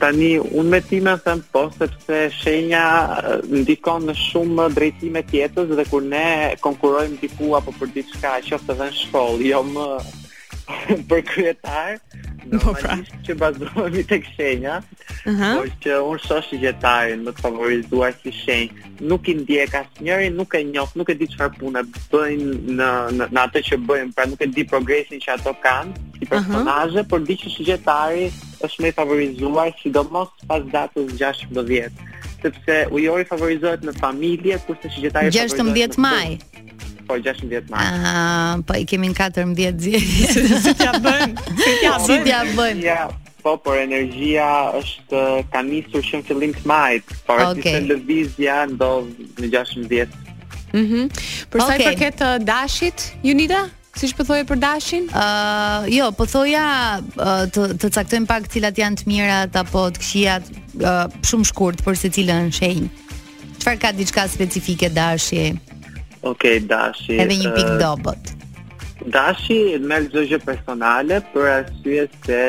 [SPEAKER 4] Tani, unë me time them po, sepse shenja eh, ndikon në shumë drejtime tjetës dhe kur ne konkurojmë diku apo për diçka, qoftë edhe në shkollë, jo më për kryetar,
[SPEAKER 8] Po, pra.
[SPEAKER 4] normalisht që bazohemi tek shenja,
[SPEAKER 8] Aha.
[SPEAKER 4] por që unë shoh shigjetarin më të favorizuar si shenjë. Nuk i ndjek asnjërin, nuk e njoh, nuk e di çfarë pune bëjnë në, në në atë që bëjnë, pra nuk e di progresin që ato kanë si personazhe, por di që shigjetari është më i favorizuar, sidomos pas datës 16. sepse ujori favorizohet në familje, kurse shigjetari favorizohet.
[SPEAKER 7] 16
[SPEAKER 4] në
[SPEAKER 7] maj.
[SPEAKER 4] punë. Po 16 maj.
[SPEAKER 7] Ah, po i kemi në 14 zgjedhje.
[SPEAKER 8] Si t'ja bëjmë? Si t'ja
[SPEAKER 7] si
[SPEAKER 8] bëjmë?
[SPEAKER 7] t'ja bëjmë?
[SPEAKER 4] Ja, po, por energjia është ka nisur që në fillim të majit, pavarësisht
[SPEAKER 7] Okej.
[SPEAKER 4] se lëvizja ndodh në 16.
[SPEAKER 8] Për sa i
[SPEAKER 7] Okej.
[SPEAKER 8] përket uh, dashit, Junida, siç po thoje për dashin?
[SPEAKER 7] Uh, jo, po thoja uh, të, të caktojmë pak cilat janë të mirat apo të këqijat uh, shumë shkurt për secilën shenjë. Çfarë ka diçka specifike dashi,
[SPEAKER 4] Okej, dashi.
[SPEAKER 7] edhe një pikë
[SPEAKER 4] eh,
[SPEAKER 7] dobët.
[SPEAKER 4] Dashi merr çdo gjë personale për arsye se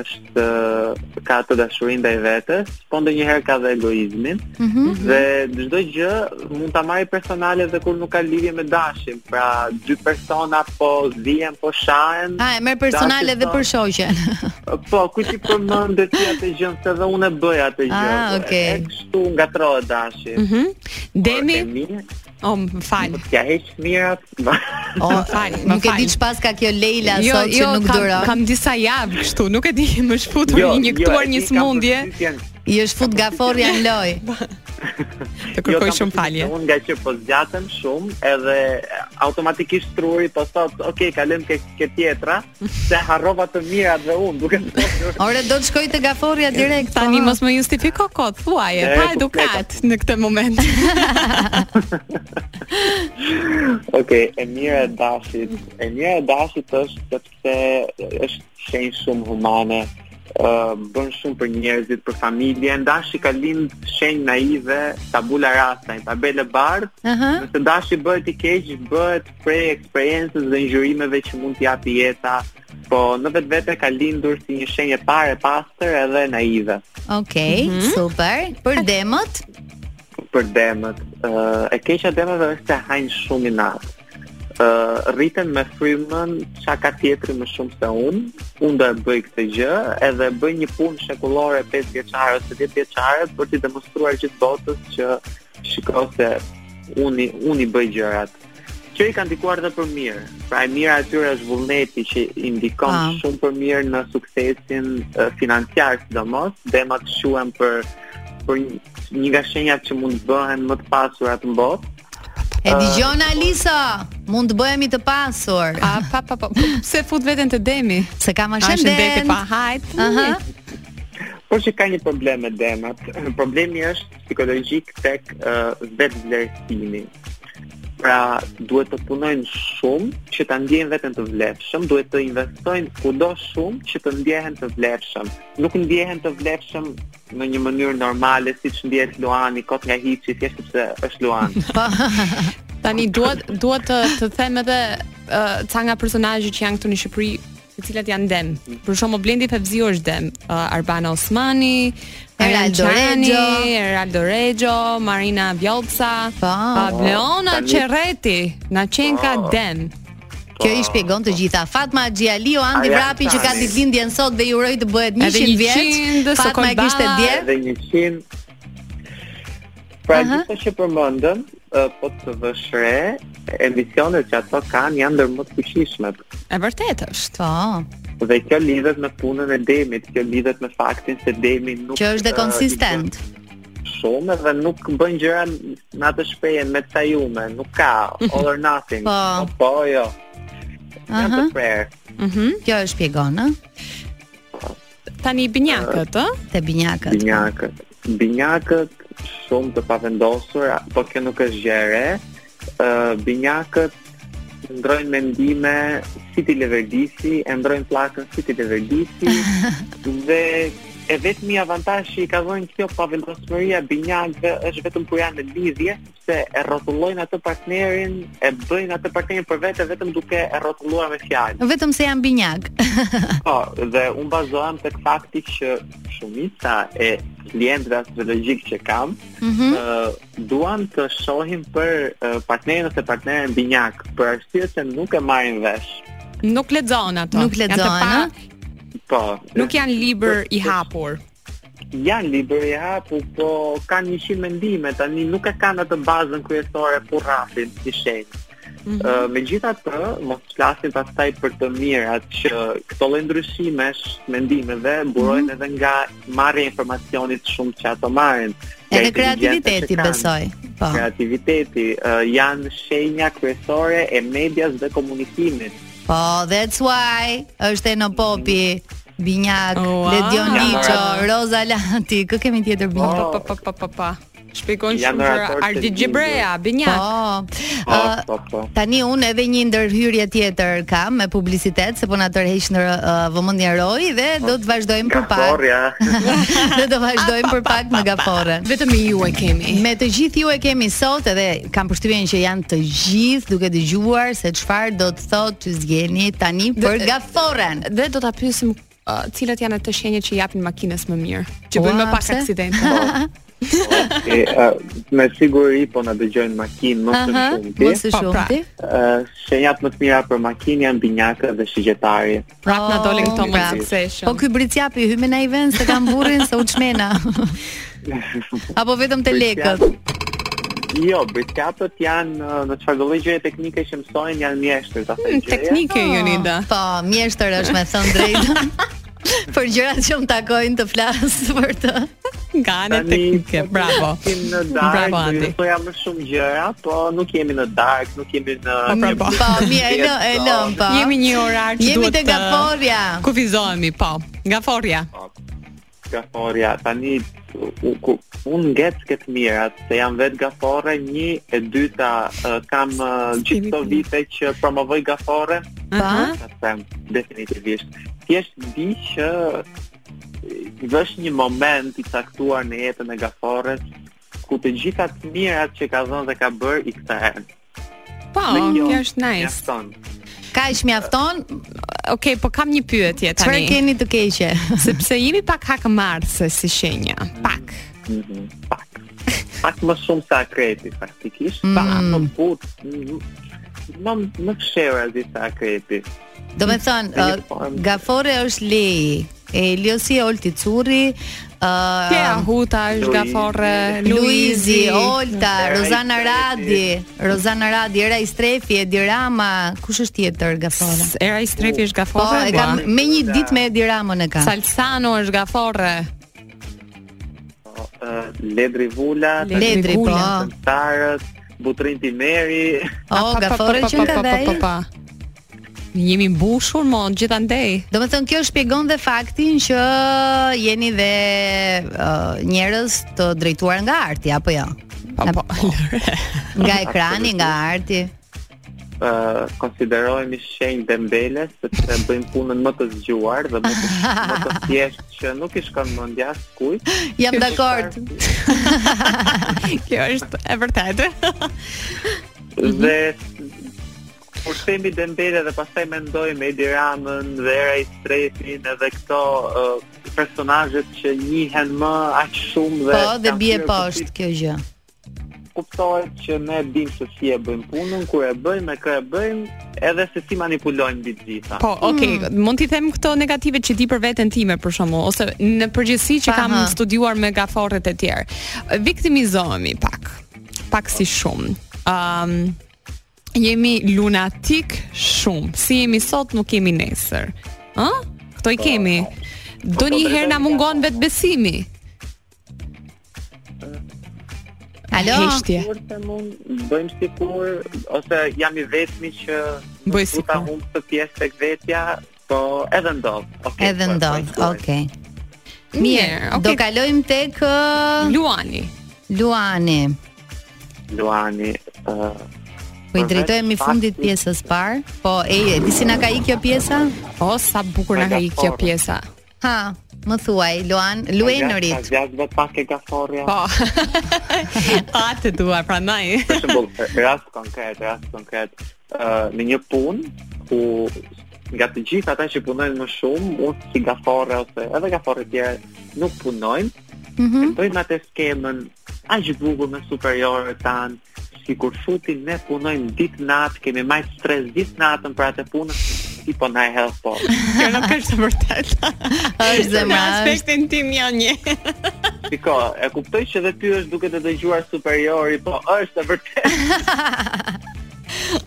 [SPEAKER 4] është ë, ka të dashurinë ndaj vetes, po ndonjëherë ka dhe egoizmin.
[SPEAKER 7] Mhm.
[SPEAKER 4] Dhe çdo gjë mund ta marrë personale dhe kur nuk ka lidhje me dashin. Pra dy persona po zihen, po shahen.
[SPEAKER 7] Ah, e merr personale
[SPEAKER 4] Dashi
[SPEAKER 7] dhe
[SPEAKER 4] po-
[SPEAKER 7] për shoqen.
[SPEAKER 4] Po, ku ti përmendë ti atë gjë se edhe unë e bëj atë gjë. po,
[SPEAKER 7] Ah,
[SPEAKER 4] e-
[SPEAKER 7] okej.
[SPEAKER 4] E kështu ngatrohet dashi. Mm
[SPEAKER 8] Mhm. Demi, oh, më fal.
[SPEAKER 4] Ja heq mirat.
[SPEAKER 7] O,
[SPEAKER 8] Më fal, më
[SPEAKER 7] nuk e
[SPEAKER 8] fal.
[SPEAKER 7] di çfarë ka kjo Leila
[SPEAKER 8] Jo,
[SPEAKER 7] sot që
[SPEAKER 8] jo,
[SPEAKER 7] nuk
[SPEAKER 8] kam,
[SPEAKER 7] duron.
[SPEAKER 8] kam disa javë kështu, nuk e di, më shfutur jo, injektuar një smundje,
[SPEAKER 7] I është fut gaforja në lojë.
[SPEAKER 8] të kërkoj shumë falje.
[SPEAKER 4] Jo, Unë nga që po zgjatem shumë, edhe automatikisht truri po thot, "Ok, kalojmë ke, ke tjetra, se harrova të mirat dhe unë, duke thosur.
[SPEAKER 7] Ore do të shkoj te gaforja direkt.
[SPEAKER 8] Tani
[SPEAKER 7] po.
[SPEAKER 8] mos më justifiko kot, thuaje,
[SPEAKER 4] E,
[SPEAKER 8] pa
[SPEAKER 4] po,
[SPEAKER 8] edukat në këtë moment.
[SPEAKER 4] Ok, e mira e dashit. E mira e dashit është sepse është shenjë shumë humane, uh, bën shumë për njerëzit, për familjen. Dashi ka lind shenjë naive, tabula rasa, një tabelë bardhë,
[SPEAKER 7] Aha.
[SPEAKER 4] Nëse dashi bëhet i keq, bëhet prej eksperiencës dhe injurimeve që mund t'i japi jeta, po në vetvete ka lindur si një shenjë e parë e pastër edhe naive.
[SPEAKER 7] Okej,
[SPEAKER 8] Mhm.
[SPEAKER 7] super. Për demët,
[SPEAKER 4] Për demët, ë, e keqja e demëve është se hajnë shumë i natë. Uh, rriten me frymën qa ka tjetri më shumë se unë unë do e bëj këtë gjë edhe e bëj një punë shekullore 5 vjeqare ose 10 vjeqare për t'i demonstruar gjithë botës që shiko se unë, i- unë i bëj gjërat që i kanë dikuar dhe për mirë pra e mira atyre është vullneti që i ndikon
[SPEAKER 7] Ah.
[SPEAKER 4] shumë për mirë në suksesin uh, financiar sidomos dhe ma të shuen për, për një- një nga shenjat që mund të bëhen më të pasurat në botë
[SPEAKER 7] e dëgjon Alisa, mund të bëhemi të pasur.
[SPEAKER 8] A pa pa pa, pse fut veten te Demi?
[SPEAKER 7] Se kam
[SPEAKER 8] A shëndetje
[SPEAKER 7] ashtë
[SPEAKER 8] pa hajt.
[SPEAKER 7] Aha.
[SPEAKER 4] Por që ka një problem me demat. Problemi është psikologjik tek uh, vetvlerësimi. Pra, duhet të punojnë shumë që ta ndjejnë veten të vlefshëm, duhet të investojnë kudo shumë që të ndjehen të vlefshëm. Nuk ndjehen të vlefshëm në një mënyrë normale siç ndjehet Luani kot nga hiçi thjesht sepse është Luan.
[SPEAKER 7] Po.
[SPEAKER 8] Tani duhet duhet të, të them edhe ë, ca nga personazhet që janë këtu në Shqipëri, të cilat janë dem. Për shembull Blendi Pevziu është dem, ë, Arbana Osmani,
[SPEAKER 7] Eraldo
[SPEAKER 8] Arian Qani,
[SPEAKER 7] Regjo.
[SPEAKER 8] Eraldo Regjo, Marina Vjolca,
[SPEAKER 7] Po.
[SPEAKER 8] Leona
[SPEAKER 4] tani- Po.
[SPEAKER 8] Qerreti, na qenë ka dem.
[SPEAKER 7] Kjo i shpjegon të gjitha. Fatma Xhialiu, Andi
[SPEAKER 4] Aja,
[SPEAKER 7] Vrapi që ka
[SPEAKER 4] tani.
[SPEAKER 7] ditëlindjen sot dhe i uroj të bëhet
[SPEAKER 8] Edhe 100,
[SPEAKER 7] 100 vjeç.
[SPEAKER 8] dhe
[SPEAKER 7] Fatma
[SPEAKER 8] Sokol
[SPEAKER 7] e kishte
[SPEAKER 8] Balla,
[SPEAKER 7] dje.
[SPEAKER 4] Edhe 100 Pra gjithë të që përmëndëm, po të vëshre, emisionet që ato kanë janë ndër më të fuqishmet.
[SPEAKER 8] E vërtet është.
[SPEAKER 7] Po,
[SPEAKER 4] Dhe kjo lidhet me punën e Demit, kjo lidhet me faktin se Demi nuk
[SPEAKER 7] që është dhe
[SPEAKER 4] ë,
[SPEAKER 7] konsistent.
[SPEAKER 4] i bën shumë dhe nuk bën gjëra në atë shprehje me të sajume, nuk ka all or nothing.
[SPEAKER 7] Po.
[SPEAKER 4] Po, po jo. Janë të
[SPEAKER 7] Aha.
[SPEAKER 4] prerë.
[SPEAKER 7] Kjo e shpjegon, ë?
[SPEAKER 8] Mhm. Tani binjakët, ë?
[SPEAKER 7] Te binjakët.
[SPEAKER 4] Binjakët. Binjakët shumë të pavendosur, a- po kjo nuk është gjere. Uh, binjakët ndrojnë mendime si ti leverdisi, e ndrojnë plakën si ti leverdisi, dhe e vetëmi avantazh që i ka dhënë kjo pavendosmëria binjakëve është vetëm kur janë në lidhje, se e rrotullojnë atë partnerin, e bëjnë atë partnerin për vete vetëm duke e rrotulluar me fjalë.
[SPEAKER 7] Vetëm se janë binjak.
[SPEAKER 4] Po, dhe unë bazohem tek fakti që shumica e klientëve astrologjik që kam, mm
[SPEAKER 8] Mhm.
[SPEAKER 4] duan të shohin për uh, partnerin ose partneren binjak, për arsye se nuk e marrin vesh.
[SPEAKER 8] Nuk lexon ato.
[SPEAKER 7] Nuk
[SPEAKER 8] Janë të
[SPEAKER 7] lexohen,
[SPEAKER 8] pa-
[SPEAKER 7] ë?
[SPEAKER 4] Po,
[SPEAKER 8] Nuk janë libër i hapur.
[SPEAKER 4] janë libër i hapu, po kanë një qimë mendime, tani nuk e kanë atë bazën kryesore kurrafin si shenjë.
[SPEAKER 7] Mhm.
[SPEAKER 4] Ë, Megjithatë, mos flasim pastaj për të mirat që këto lloj ndryshimesh, mendimeve
[SPEAKER 7] Mhm.
[SPEAKER 4] burojnë edhe nga marrja e informacionit shumë që ato marrin. nga
[SPEAKER 7] Edhe
[SPEAKER 4] inteligjenca
[SPEAKER 7] kreativiteti
[SPEAKER 4] që kanë.
[SPEAKER 7] besoj. Po.
[SPEAKER 4] Kreativiteti ë, janë shenja kryesore e medias dhe komunikimit.
[SPEAKER 7] Po, that's why është Eno Popi, Binjak,
[SPEAKER 8] Ua.
[SPEAKER 7] Ledion
[SPEAKER 4] Oh, Janë
[SPEAKER 7] Liço,
[SPEAKER 8] orator.
[SPEAKER 7] Roza Lati, kë kemi tjetër
[SPEAKER 8] Po,
[SPEAKER 7] Binjak?
[SPEAKER 8] po, po, po, po, po. Shpikon
[SPEAKER 4] Janë
[SPEAKER 8] shumë për
[SPEAKER 4] oratorë të
[SPEAKER 8] Ardi
[SPEAKER 4] lindur.
[SPEAKER 8] Gjebrea, Binjak.
[SPEAKER 7] Po.
[SPEAKER 4] Po,
[SPEAKER 7] Ë,
[SPEAKER 4] po, po.
[SPEAKER 7] Tani unë edhe një ndërhyrje tjetër kam me publicitet se po na tërheq në uh, vëmendjen roj dhe do të vazhdojmë për pak.
[SPEAKER 4] Gaforja.
[SPEAKER 7] dhe do vazhdojmë për pak me gaforën.
[SPEAKER 8] Vetëm me ju e kemi.
[SPEAKER 7] Me të gjithë ju e kemi sot edhe kam përshtypjen që janë të gjithë duke dëgjuar se çfarë do të thotë ty zgjeni tani për gaforën.
[SPEAKER 8] Dhe do ta pyesim uh, cilat janë ato shenjat që japin makinës më mirë, që bëjnë më
[SPEAKER 7] Ua,
[SPEAKER 8] pak
[SPEAKER 7] Po, pse?
[SPEAKER 8] aksidente.
[SPEAKER 4] E, ë, me siguri po na dëgjojnë makinë më shumë.
[SPEAKER 7] Aha,
[SPEAKER 4] shumë ti.
[SPEAKER 7] mos e
[SPEAKER 8] Po, pra.
[SPEAKER 7] shumti.
[SPEAKER 4] Ë, shenjat më të mira për makinë janë binjakët dhe shigjetari.
[SPEAKER 8] Prap na dolin këto më
[SPEAKER 7] Po, prap.
[SPEAKER 8] succession.
[SPEAKER 7] Po ky bricjapi hyme në event se kam burrin se u çmena. Apo vetëm te lekët.
[SPEAKER 4] Jo, britskapët janë ë, në çfarë do lloj gjëje teknike që mësojnë janë mjeshtër ta thënë. gjëja.
[SPEAKER 8] Mm, Teknike Jonida.
[SPEAKER 7] Po, mjeshtër është me thënë drejtën. për gjërat që më takojnë të flas për të.
[SPEAKER 8] Nga anë
[SPEAKER 4] Tani,
[SPEAKER 8] teknike, bravo.
[SPEAKER 4] Jemi në dark,
[SPEAKER 8] Bravo,
[SPEAKER 4] do ju
[SPEAKER 8] Andi.
[SPEAKER 4] mësoja më shumë gjëra, po nuk jemi në dark, nuk jemi në
[SPEAKER 8] Po, bravo.
[SPEAKER 7] Po, mirë, e lë, e lë, po.
[SPEAKER 8] Jemi një orar që
[SPEAKER 7] Jemi
[SPEAKER 8] duhet
[SPEAKER 7] te gaforja.
[SPEAKER 8] Kufizohemi, po. Gaforja.
[SPEAKER 4] gaforja. Tani u- ku- unë ngec këtë mirat, se jam vetë gafore, një e dyta ë, kam ë, gjithë këto vite që promovoj gafore,
[SPEAKER 7] Po.
[SPEAKER 4] ta them definitivisht. Thjesht di që e, vesh një moment i caktuar në jetën e gaforës ku të gjitha të mirat që ka dhënë dhe ka bërë i këta herë.
[SPEAKER 8] Po,
[SPEAKER 4] Në një
[SPEAKER 8] kjo
[SPEAKER 4] orë,
[SPEAKER 8] është nice.
[SPEAKER 4] mjafton.
[SPEAKER 7] Kaq mjafton.
[SPEAKER 8] Okej, po kam një pyetje
[SPEAKER 7] Çfarë
[SPEAKER 8] tani.
[SPEAKER 7] keni të keqe?
[SPEAKER 8] Sepse jemi pak hakmarrse si shenja. Pak.
[SPEAKER 4] Mhm, Pak. Pak më shumë sa akrepi, faktikisht.
[SPEAKER 7] Mm.
[SPEAKER 4] Pa, më but, m- më, më fshera zi sa akrepi.
[SPEAKER 7] Do me
[SPEAKER 4] Në
[SPEAKER 7] thënë,
[SPEAKER 4] një
[SPEAKER 7] ë,
[SPEAKER 4] formë.
[SPEAKER 7] gafore është leji. Eliosi Olti Curri, ë,
[SPEAKER 8] Kea Huta është
[SPEAKER 4] Luizi.
[SPEAKER 8] gaforre,
[SPEAKER 7] Luizi, Olta,
[SPEAKER 4] Era
[SPEAKER 7] Rozana
[SPEAKER 4] Istrefi.
[SPEAKER 7] Radi, Rozana Radi, Era Istrefi, Edi Rama, kush është tjetër gafore?
[SPEAKER 8] Era i strefi është
[SPEAKER 7] Po,
[SPEAKER 8] gaforre.
[SPEAKER 7] e
[SPEAKER 8] Po,
[SPEAKER 7] kam me një ditë me Edi Ramën e kam.
[SPEAKER 8] Salsano është gaforre.
[SPEAKER 4] Uh, Ledri Vula,
[SPEAKER 7] Ledri, po.
[SPEAKER 8] Gula.
[SPEAKER 4] Tarës, Butrin Timeri,
[SPEAKER 7] O,
[SPEAKER 8] Ah, Pa, pa,
[SPEAKER 7] gafore
[SPEAKER 8] pa, pa,
[SPEAKER 7] që
[SPEAKER 8] pa,
[SPEAKER 7] ka
[SPEAKER 8] pa,
[SPEAKER 7] dhe
[SPEAKER 8] pa,
[SPEAKER 7] ai.
[SPEAKER 8] pa. Jemi mbushur mo gjithandej.
[SPEAKER 7] Do me thënë kjo shpjegon dhe faktin që jeni dhe uh, njerëz të drejtuar nga arti, apo jo?
[SPEAKER 8] Po
[SPEAKER 7] Nga-
[SPEAKER 8] po. lëre.
[SPEAKER 7] Nga ekrani, nga arti.
[SPEAKER 4] uh, konsiderohemi shenjë dembele sepse bëjmë punën më të zgjuar dhe më të, më të thjeshtë që nuk i shkon mendja kujt.
[SPEAKER 7] Jam dakord.
[SPEAKER 8] Kjo është e vërtetë.
[SPEAKER 7] Mhm.
[SPEAKER 4] Dhe kur themi dembele dhe pastaj mendojmë Edi Ramën dhe Era i Strefin edhe këto uh, personazhet që njihen më aq shumë dhe
[SPEAKER 7] Po, dhe
[SPEAKER 4] kanë
[SPEAKER 7] bie
[SPEAKER 4] kryer
[SPEAKER 7] poshtë
[SPEAKER 4] përfit,
[SPEAKER 7] kjo gjë.
[SPEAKER 4] kuptohet që ne dim se si e bëjmë punën, kur e bëjmë, me kë e bëjmë, edhe se si manipulojmë ditë gjitha.
[SPEAKER 8] Po,
[SPEAKER 7] Mm.
[SPEAKER 8] okay, mund t'i them këto negative që di për veten time për shembull, ose në përgjithësi që kam
[SPEAKER 7] Aha.
[SPEAKER 8] studiuar me gaforret e tjerë. Viktimizohemi pak. Pak si shumë. Ëm jemi lunatik shumë. Si jemi sot nuk jemi nesër. Ë? Kto i kemi. Do po, një herë na mungon vetë besimi.
[SPEAKER 7] Alo?
[SPEAKER 8] Heshtje.
[SPEAKER 4] Kur se mund bëjmë sikur ose jam i vetmi që nuk
[SPEAKER 8] Bëj
[SPEAKER 4] du ta
[SPEAKER 8] sikur.
[SPEAKER 4] humb të pjesë tek vetja, po edhe ndodh. Okay, po
[SPEAKER 7] Edhe
[SPEAKER 4] e
[SPEAKER 7] ndodh.
[SPEAKER 4] projektoj.
[SPEAKER 7] Okej.
[SPEAKER 8] Mirë,
[SPEAKER 7] Do
[SPEAKER 8] okay.
[SPEAKER 7] kalojmë tek ë,
[SPEAKER 8] Luani.
[SPEAKER 7] Luani.
[SPEAKER 4] Luani, ë
[SPEAKER 7] Po i drejtohemi fundit pjesës parë. Po, e, e di si na ka ikë kjo pjesa?
[SPEAKER 8] O sa bukur na ka ikë kjo
[SPEAKER 4] Megaforë.
[SPEAKER 8] pjesa.
[SPEAKER 7] Ha, më thuaj, Luan,
[SPEAKER 4] Ka
[SPEAKER 7] Luenërit.
[SPEAKER 4] zgjat pak e gaforja.
[SPEAKER 8] Po. A të dua prandaj.
[SPEAKER 4] Për shembull, rast konkret, rast konkret, ë në një punë ku nga të gjithë ata që punojnë më shumë, unë si gaforre ose edhe gaforre tjerë nuk punojnë, e
[SPEAKER 7] Mhm.
[SPEAKER 4] bëjmë atë skemën aq bukur me superiorët tanë, si kur futin ne punojmë ditë natë, kemi majtë stres ditë natën për atë punën, si po na e hell po.
[SPEAKER 8] Kjo nuk është e vërtetë.
[SPEAKER 7] Është
[SPEAKER 8] Në
[SPEAKER 7] zemra. është-
[SPEAKER 8] aspektin tim janë një.
[SPEAKER 4] Shiko, e kuptoj që dhe ty është duke të dëgjuar superiori, po është e vërtet.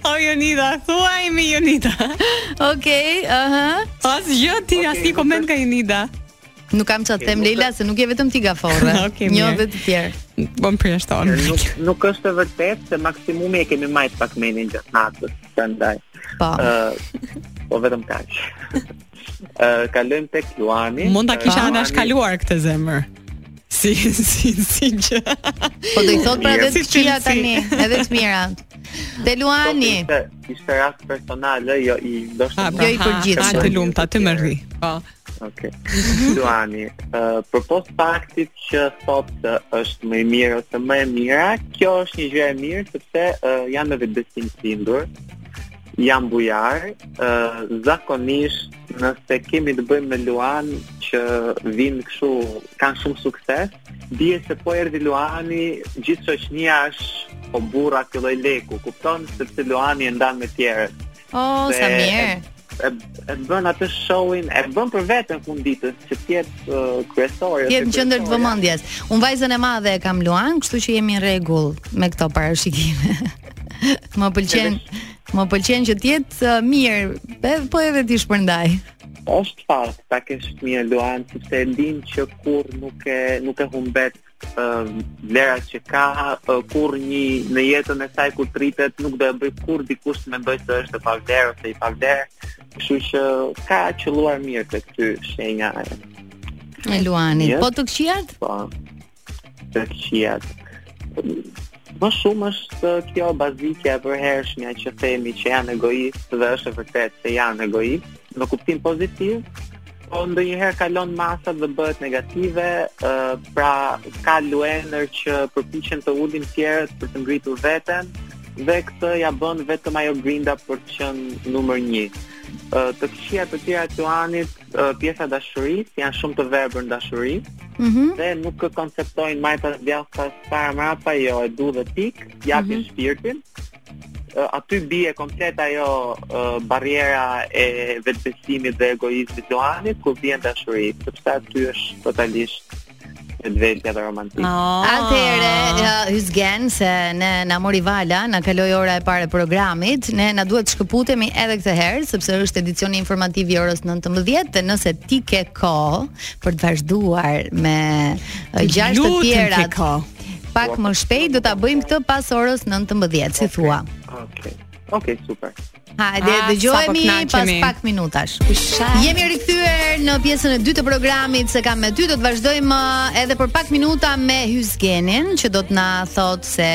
[SPEAKER 8] O Jonida, thuaj mi Jonida.
[SPEAKER 7] Okej, aha.
[SPEAKER 8] Asgjë ti as një koment nga Jonida.
[SPEAKER 7] Nuk kam çfarë të them Leila se nuk je vetëm ti gaforre.
[SPEAKER 8] Okej,
[SPEAKER 7] Një
[SPEAKER 8] mirë.
[SPEAKER 7] dhe të tjerë.
[SPEAKER 8] Po më prishton.
[SPEAKER 4] Nuk, nuk është e vërtet se maksimumi e kemi majt pak menin gjatë natës, prandaj.
[SPEAKER 7] Po.
[SPEAKER 4] Ë, po vetëm kaq. Ë, kalojmë tek Luani.
[SPEAKER 8] Mund ta kisha
[SPEAKER 4] Ë,
[SPEAKER 8] anash
[SPEAKER 4] Luani-
[SPEAKER 8] kaluar këtë zemër. Si si si gjë.
[SPEAKER 7] Po do i thot pra
[SPEAKER 4] Mirë.
[SPEAKER 7] edhe të
[SPEAKER 8] Si
[SPEAKER 7] këqija
[SPEAKER 8] cilësi.
[SPEAKER 7] tani, edhe të mirat. Te Luani.
[SPEAKER 4] Ishte, ishte rast personal, ë, jo i
[SPEAKER 8] Ah,
[SPEAKER 4] ndoshta.
[SPEAKER 8] po.
[SPEAKER 7] pra. Jo i përgjithshëm.
[SPEAKER 8] A të lumta, të më rri. Po.
[SPEAKER 4] Okej. Luani, uh, përpos faktit që thot se është më i mirë ose më e mira, kjo është një gjë e mirë sepse uh, jam edhe besim tindur, jam bujar, uh, zakonisht nëse kemi të bëjmë me Luan që vinë kështu, kanë shumë sukses, dije se po erdi Luani, gjithë shoqënia është po burra ky lloj leku, kupton sepse Luani e ndan me tjerët
[SPEAKER 7] Oh, sa
[SPEAKER 4] se-
[SPEAKER 7] mirë.
[SPEAKER 4] e, e bën atë showin, e bën për vetën fund ditës që të jetë uh, kryesore.
[SPEAKER 7] Ti je në qendër të vëmendjes. Unë vajzën e madhe e kam Luan, kështu që jemi në rregull me këto parashikime. më pëlqen, më pëlqen që të jetë uh, mirë, pe- po edhe ti shpërndaj.
[SPEAKER 4] Është fakt, ta kesh fëmijë Luan, sepse e din që kur nuk e nuk e humbet uh, vlerat që ka, uh, kur një në jetën e saj kur tritet, nuk do e bëj kur dikush të mendoj se është e pavlerë ose i pavlerë. Kështu që ka qelluar mirë te ky shenja e
[SPEAKER 7] Me Luanin.
[SPEAKER 4] Mirë.
[SPEAKER 7] Po të këqijat?
[SPEAKER 4] po, të këqijat. Më shumë është kjo bazike e përhershmja që themi që janë egoistë dhe është e vërtet se janë egoistë në kuptim pozitiv, po ndonjëherë kalon masat dhe bëhet negative, ë, pra ka luenër që përpiqen të ulin tjerët për të ngritur veten dhe këtë ja bën vetëm ajo grinda për të qenë numër 1. Të këqija të tjera të anit, ë, pjesa e dashurisë janë shumë të verbër në dashuri, dhe nuk e konceptojnë majtas djathtas para mrapa, jo e du dhe pik, japin shpirtin. Ë, Aty bie komplet ajo ë, barriera e vetbesimit dhe egoizmit të anit, ku vjen dashuri, sepse aty është totalisht vetvetja dhe romantikë.
[SPEAKER 7] Ah.
[SPEAKER 8] Ah.
[SPEAKER 7] Atëherë, uh, Hyzgen se ne na mori vala, na kaloi ora e parë e programit, ne na duhet të shkëputemi edhe këtë herë sepse është edicioni informativ i orës 19 dhe nëse ti ke kohë për të vazhduar me uh, gjashtë të
[SPEAKER 8] Lutem
[SPEAKER 7] tjera
[SPEAKER 8] ke kohë.
[SPEAKER 7] pak më shpejt do ta bëjmë këtë pas orës 19 si thua.
[SPEAKER 4] Okej. Okej, super.
[SPEAKER 7] Hajde,
[SPEAKER 8] Ah,
[SPEAKER 7] dëgjojemi
[SPEAKER 8] sa po
[SPEAKER 7] pas
[SPEAKER 8] knaqemi.
[SPEAKER 7] pak minutash. Jemi rikthyer në pjesën e dytë të programit se kam me ty, do të vazhdojmë ë, edhe për pak minuta me Hyzgenin, që do të na thotë se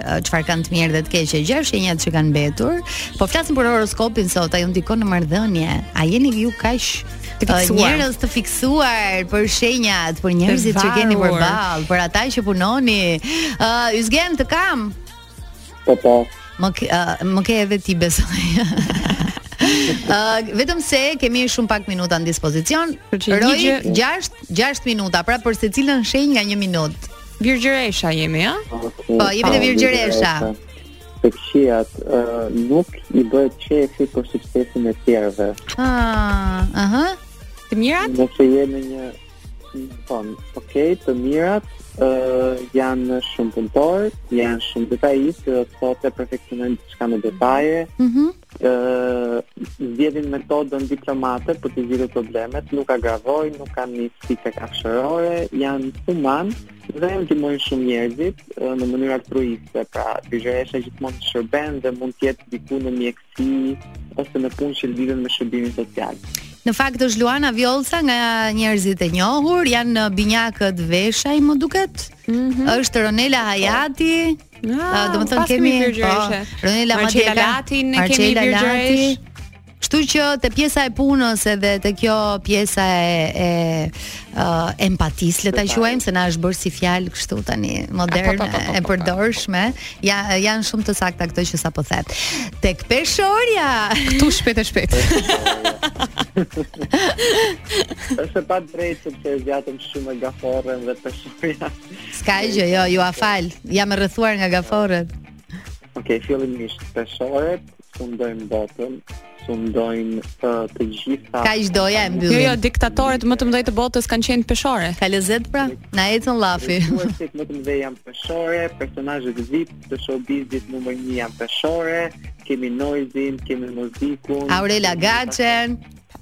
[SPEAKER 7] ë, çfarë kanë të mirë dhe të keqe, gjëra shenjat që kanë mbetur. Po flasim për horoskopin sot, a ju ndikon në marrëdhënie? A jeni ju kaq
[SPEAKER 8] Të
[SPEAKER 7] ë,
[SPEAKER 8] fiksuar.
[SPEAKER 7] njerëz të fiksuar për shenjat, për njerëzit që keni
[SPEAKER 8] varur.
[SPEAKER 7] përballë, për ata që punoni. Ë Hyzgen të kam.
[SPEAKER 4] Po, po.
[SPEAKER 7] Më ke, uh, më ke edhe ti besoj. Uh, vetëm se kemi shumë pak minuta në dispozicion.
[SPEAKER 8] Për që një
[SPEAKER 7] Roj
[SPEAKER 8] gjë-
[SPEAKER 7] 6 6 minuta, pra për secilën shenjë nga 1 minutë.
[SPEAKER 8] Virgjëresha jemi, a?
[SPEAKER 7] Po, jemi
[SPEAKER 4] Ah,
[SPEAKER 7] te Virgjëresha.
[SPEAKER 4] Të këshijat, ë, nuk i bëhet qefi për suksesin e tjerëve.
[SPEAKER 7] Ah, aha.
[SPEAKER 8] Të mirat?
[SPEAKER 4] Nëse je në një po, okay, të mirat uh, janë shumë punëtorë, janë shumë detajistë, dhe sot e perfeksionojnë diçka me detaje,
[SPEAKER 7] Mhm.
[SPEAKER 4] uh, zgjedhin metodën diplomate për të zgjidhur problemet, nuk agravojnë, nuk kanë një stike kafshërore, janë human dhe ndihmojnë shumë njerëzit uh, në mënyrë altruiste, pra biznesja gjithmonë të shërben dhe mund të jetë diku në mjeksi ose në punë që lidhen me shërbimin social.
[SPEAKER 7] Në fakt është Luana Vjollca nga njerëzit e njohur, janë në binjakët veshaj më duket. Është Ronela Hayati.
[SPEAKER 8] Mhm. Ah,
[SPEAKER 7] Ah, do të thënë
[SPEAKER 8] pas
[SPEAKER 7] kemi
[SPEAKER 8] kemi virgjëreshe.
[SPEAKER 7] po, Ronela
[SPEAKER 8] Marcella
[SPEAKER 7] Matjela,
[SPEAKER 8] Lati, ne kemi virgjëresh.
[SPEAKER 7] Kështu që te pjesa e punës edhe te kjo pjesa e e uh, empatisë le ta quajmë se na është bërë si fjalë kështu tani moderne
[SPEAKER 8] po, po, po, po,
[SPEAKER 7] e
[SPEAKER 8] po.
[SPEAKER 7] përdorshme, ja, janë shumë të sakta këto që sapo the. Tek peshorja.
[SPEAKER 8] Tu shpejt e shpejt.
[SPEAKER 4] Është e pa drejtë sepse e zjatëm shumë e gaforën dhe të shumëja.
[SPEAKER 7] S'ka gjë, jo, ju a fal. Jam e rrethuar nga gaforët.
[SPEAKER 4] Ok, fillimisht peshoret, sundojmë botën, sundojmë të, të gjitha...
[SPEAKER 7] Kaq doja e
[SPEAKER 8] Jo, jo,
[SPEAKER 7] mbyllim.
[SPEAKER 8] diktatorët më të mëdhenj të botës kanë qenë peshore.
[SPEAKER 7] Ka lezet pra? Na ecën llafi.
[SPEAKER 4] Rituasit më të mëdhej janë peshore, personazhet VIP të showbizit numër 1 janë peshore, kemi noizin, kemi muzikun.
[SPEAKER 7] Aurela
[SPEAKER 4] kemi-
[SPEAKER 7] Gaçen.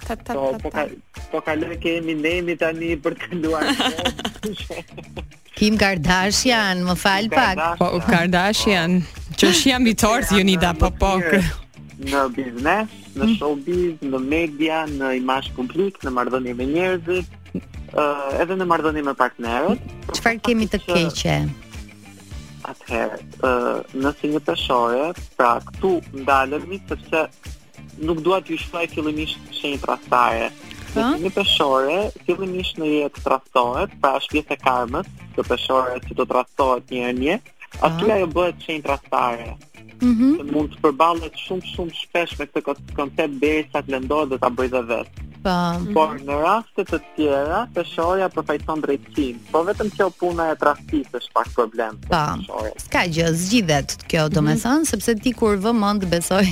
[SPEAKER 8] Ta ta
[SPEAKER 4] Po,
[SPEAKER 8] ta.
[SPEAKER 4] po,
[SPEAKER 8] ta.
[SPEAKER 4] ka, po kaloj ke Eminemi tani për të kënduar.
[SPEAKER 7] Kim Kardashian, më fal pak.
[SPEAKER 8] Po Kardashian, që është jam vitor Jonida, po po. Mm. kë-
[SPEAKER 4] Në biznes, në showbiz, në media, në imazh publik, në marrëdhënie me njerëzit, ë, edhe në marrëdhënie me partnerët.
[SPEAKER 7] Çfarë kemi të
[SPEAKER 4] Faktikisht,
[SPEAKER 7] keqe?
[SPEAKER 4] Atëherë, ë, nëse një peshore, pra këtu ndalemi sepse nuk dua t'ju shkruaj fillimisht shenjë trastare.
[SPEAKER 7] Po?
[SPEAKER 4] Nëse një peshore, fillimisht në jetë trastohet, pra është pjesë e karmës, të peshore që do trastohet një herë një, aty ajo bëhet shenjë trastare.
[SPEAKER 7] Mhm.
[SPEAKER 4] Që mund të përballet shumë shumë shpesh me këtë kon- koncept derisa të lëndohet dhe ta bëj dhe vetë.
[SPEAKER 7] Po.
[SPEAKER 4] Por në raste të tjera, peshorja përfaqëson drejtësinë. Po vetëm kjo puna e trastisë është pak problem. për
[SPEAKER 7] Po.
[SPEAKER 4] peshorët.
[SPEAKER 7] S'ka gjë, zgjidhet kjo
[SPEAKER 8] Mhm.
[SPEAKER 7] domethënë, sepse ti kur vë mend besoj.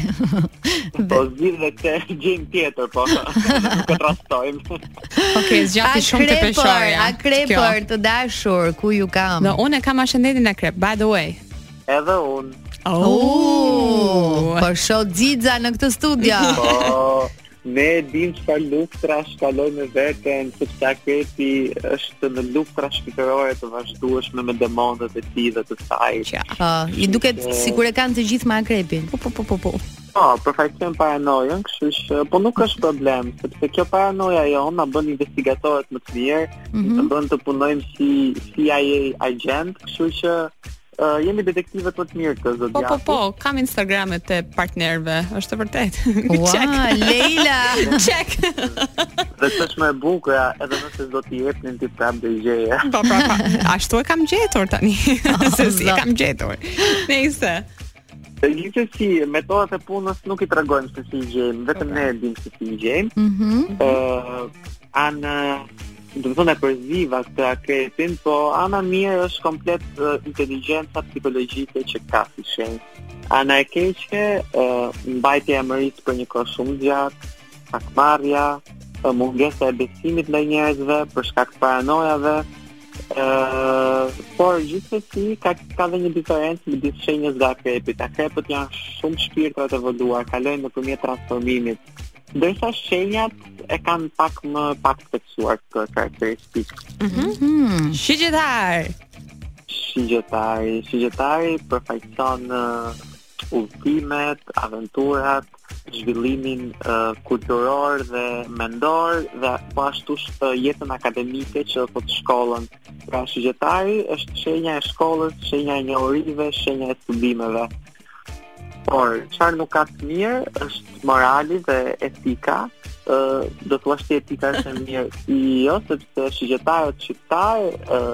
[SPEAKER 4] Po zgjidhë këtë gjim tjetër, po. Nuk e trastojmë.
[SPEAKER 8] Okej, zgjati shumë të peshorja.
[SPEAKER 7] a krepër të dashur, ku ju kam?
[SPEAKER 8] Do unë e kam ashendetin e krep, by the way.
[SPEAKER 4] Edhe unë.
[SPEAKER 7] Uh, Oh. po shoh xixa në këtë studio.
[SPEAKER 4] Po, ne e dim çfarë luftra shkalloj me veten, sepse akrepi është në luftra shpirtërore të vazhdueshme me demonët e tij dhe të saj.
[SPEAKER 7] Po, i duket sikur e kanë të gjithë me akrepin.
[SPEAKER 8] Po po po po po.
[SPEAKER 4] Po, përfaqësojmë paranojën, kështu që po nuk është problem, sepse kjo paranoja jonë na bën investigatorët më të mirë,
[SPEAKER 8] Mhm.
[SPEAKER 4] të bën të punojmë si CIA agent, kështu që uh, jemi detektivët më të mirë të
[SPEAKER 8] Po
[SPEAKER 4] zodiaku.
[SPEAKER 8] po po, kam Instagramet e partnerëve, është e vërtet. Check.
[SPEAKER 7] Ua, Leila.
[SPEAKER 8] Check.
[SPEAKER 4] Dhe të është më e bukura, edhe nëse s'do t'i jepnin ti prapë dhe gjeja.
[SPEAKER 8] Po pra, pa. ashtu e kam gjetur tani. Se si e
[SPEAKER 7] zot.
[SPEAKER 8] kam gjetur. Nëse.
[SPEAKER 4] Dhe gjithë si, metodat e punës nuk i tregojmë se si i gjejmë, vetëm ne e dim se si i gjejmë.
[SPEAKER 7] Mhm.
[SPEAKER 4] uh, anë do të thonë e përziva këtë akretin, po ana mirë është komplet uh, inteligjenca psikologjike që ka si shenjë. Ana e keqe, uh, mbajtja e mërisë për një kohë shumë gjatë, hakmarrja, uh, mungesa e besimit ndaj njerëzve për shkak të paranojave, uh, por gjithsesi ka ka dhe një diferencë midis shenjës dhe akrepit. Akrepët janë shumë shpirtra të evoluar, kalojnë nëpërmjet transformimit Ndërsa shenjat e kanë pak më pak të theksuar këtë karakteristikë.
[SPEAKER 8] Mhm. Shigjetar.
[SPEAKER 4] Shigjetari, shigjetari përfaqëson uh, udhëtimet, aventurat, zhvillimin uh, kulturor dhe mendor dhe po ashtu sh- uh, jetën akademike që thot shkollën. Pra shigjetari është shenja e shkollës, shenja e njohurive, shenja e studimeve. Por çfarë nuk ka të mirë është morali dhe etika. ë do të thuash ti etika është e mirë. Jo, sepse shigjetarët shqiptar ë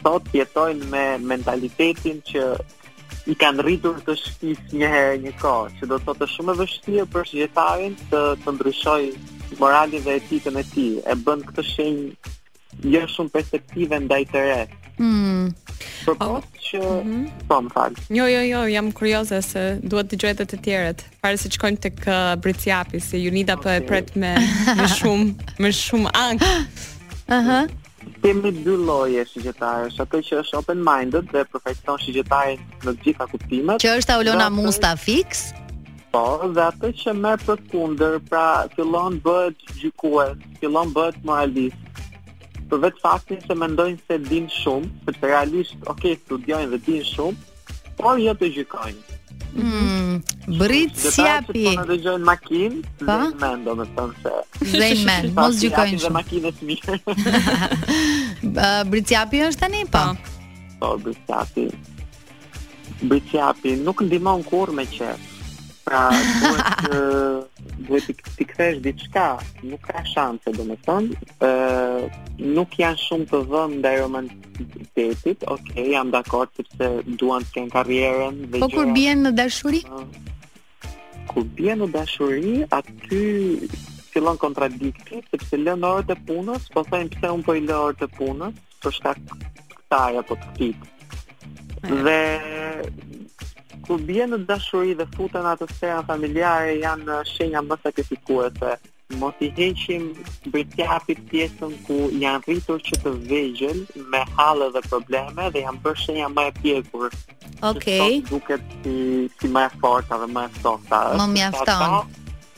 [SPEAKER 4] sot jetojnë me mentalitetin që i kanë rritur të shkis një herë një kohë, që do të thotë shumë e vështirë për shqiptarin të të ndryshojë moralin dhe etikën e tij. E bën këtë shenjë jo shumë perceptive ndaj të re.
[SPEAKER 7] Mm.
[SPEAKER 4] Përpoq që
[SPEAKER 7] mhm.
[SPEAKER 4] po më fal.
[SPEAKER 8] Jo, jo, jo, jam kurioze se duhet të gjoj edhe të tjerët. Para se të shkojnë tek uh, Briciapi, se Junida po e pret me me shumë, me shumë ankth.
[SPEAKER 7] Aha.
[SPEAKER 4] Kemi dy lloje shqiptarësh, ato që është open minded dhe përfaqëson shqiptarin në të gjitha kuptimet.
[SPEAKER 7] Që është Aulona
[SPEAKER 4] Dhe ato-
[SPEAKER 7] Musta fix.
[SPEAKER 4] Po, dhe atë që merr për kunder, pra fillon bëhet gjykues, fillon bëhet moralist. Për vetë faktin se mendojnë se din shumë, sepse realisht, ok, studiojnë dhe din shumë, por jo të gjykojnë.
[SPEAKER 7] Mm.
[SPEAKER 4] Shqiptarët
[SPEAKER 7] Brit
[SPEAKER 4] që
[SPEAKER 7] Sjapi
[SPEAKER 4] po në dëgjojnë makinë,
[SPEAKER 7] Po?
[SPEAKER 4] dhe mendon me thënë se...
[SPEAKER 7] dhe men, mos
[SPEAKER 4] shumë.
[SPEAKER 7] gjykojnë
[SPEAKER 4] Dhe
[SPEAKER 7] shumë.
[SPEAKER 4] makinës mirë.
[SPEAKER 7] Uh, Brit Sjapi është tani po.
[SPEAKER 4] po, bëjtjapi. Bëjtjapi nuk ndihmon kur me qef. Pra, duhet të duhet t'i t'i kthesh diçka, nuk ka shanse, domethënë, ë nuk janë shumë të vëmë ndaj romantitetit. Okej, jam dakord sepse duan të kenë karrierën dhe
[SPEAKER 7] Po kur
[SPEAKER 4] gjëra.
[SPEAKER 7] bien në dashuri?
[SPEAKER 4] Kur bie në dashuri, aty fillon kontradikti, sepse lën orët e punës, po thënë pse unë po i lë orët e punës, për shkak të kësaj apo të këtij. Dhe kur bie në dashuri dhe futen atë sferën familjare, janë shenja më sakrifikuese. mos i heqim bërtjapit pjesën ku janë rritur që të vegjël me hallë dhe probleme dhe janë bërë shenja më e pjekur. që
[SPEAKER 7] Okej.
[SPEAKER 4] sot Duket si si më e forta dhe më e sohta.
[SPEAKER 7] Më
[SPEAKER 4] Ëh,
[SPEAKER 7] mjafton.
[SPEAKER 4] ata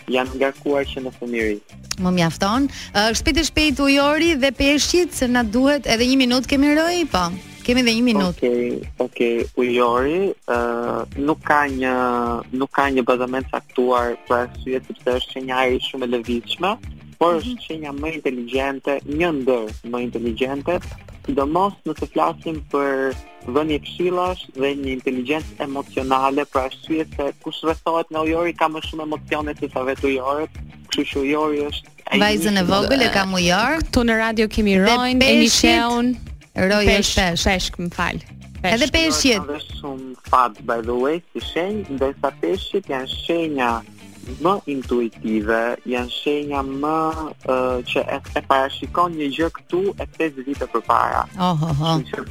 [SPEAKER 4] Janë ngarkuar që në fëmijëri.
[SPEAKER 7] Më mjafton. Uh, shpejt e shpejt ujori dhe peshqit se na duhet edhe një minutë kemi roj, po. Kemi edhe një minutë.
[SPEAKER 4] Okej, okej, ujori, ë nuk ka një nuk ka një bazament caktuar për arsye sepse është shenjari shumë e lëvizshme, por
[SPEAKER 7] Mhm.
[SPEAKER 4] është shenja më inteligjente, një ndër më inteligjente, sidomos nëse flasim për vënie këshillash dhe një inteligjencë emocionale për arsye se kush rrethohet nga ujori ka më shumë emocione se sa vetë ujorët, kështu që ujori është ai
[SPEAKER 7] Vajzën e
[SPEAKER 4] një-
[SPEAKER 7] vogël e kam ujor.
[SPEAKER 8] Këtu në radio kemi rojnë, e
[SPEAKER 7] peshqit,
[SPEAKER 8] nisheun,
[SPEAKER 7] Roj
[SPEAKER 8] pesh,
[SPEAKER 7] është pesh.
[SPEAKER 8] peshk, më fal. Peshk.
[SPEAKER 7] Edhe peshqit.
[SPEAKER 4] Ka dhe shumë fat by the way si shenjë, ndërsa peshqit janë shenja më intuitive, janë shenja më ë, që e, e parashikon një gjë këtu e 5 vite përpara.
[SPEAKER 7] Oh, oh, oh.
[SPEAKER 4] Kështu që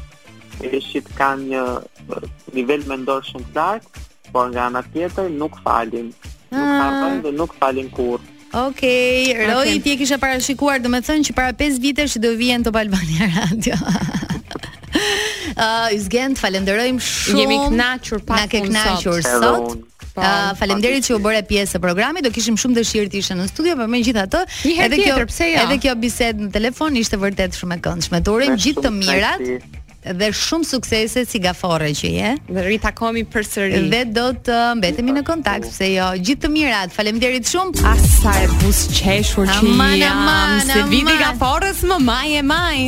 [SPEAKER 4] Peshqit kanë një ë, nivel mendor shumë të lartë, por nga ana tjetër nuk falin. Nuk
[SPEAKER 7] Ah.
[SPEAKER 4] harrojnë dhe nuk falin kurrë.
[SPEAKER 7] Okej, Roj, ti e kisha parashikuar, do me thënë që para 5 vitesh që do vijen Top Albania Radio. Uh, Ysgen, të falenderojmë shumë.
[SPEAKER 8] Jemi knaqur pak
[SPEAKER 7] Na ke
[SPEAKER 8] unë
[SPEAKER 7] knaqur
[SPEAKER 4] sot. Edhe
[SPEAKER 7] sot.
[SPEAKER 4] unë.
[SPEAKER 7] Uh, falemderit që u bëre pjesë e programit. Do kishim shumë dëshirë të ishe në studio, por megjithatë,
[SPEAKER 8] Një herë
[SPEAKER 7] edhe kjo
[SPEAKER 8] tjetër, pse jo?
[SPEAKER 7] edhe kjo bisedë në telefon ishte vërtet shumë e këndshme. Të urojmë
[SPEAKER 4] Me
[SPEAKER 7] gjithë të
[SPEAKER 4] shumë
[SPEAKER 7] mirat
[SPEAKER 4] knajsi.
[SPEAKER 7] dhe shumë suksese si gaforre që je
[SPEAKER 8] Dhe ritakomi përsëri.
[SPEAKER 7] dhe do të mbetemi në kontakt pse jo. Gjithë të mirat. Faleminderit shumë.
[SPEAKER 8] As sa e bus qeshur që
[SPEAKER 7] Aman,
[SPEAKER 8] jam
[SPEAKER 7] aman,
[SPEAKER 8] Se viti
[SPEAKER 7] aman.
[SPEAKER 8] ka forës më maj e maj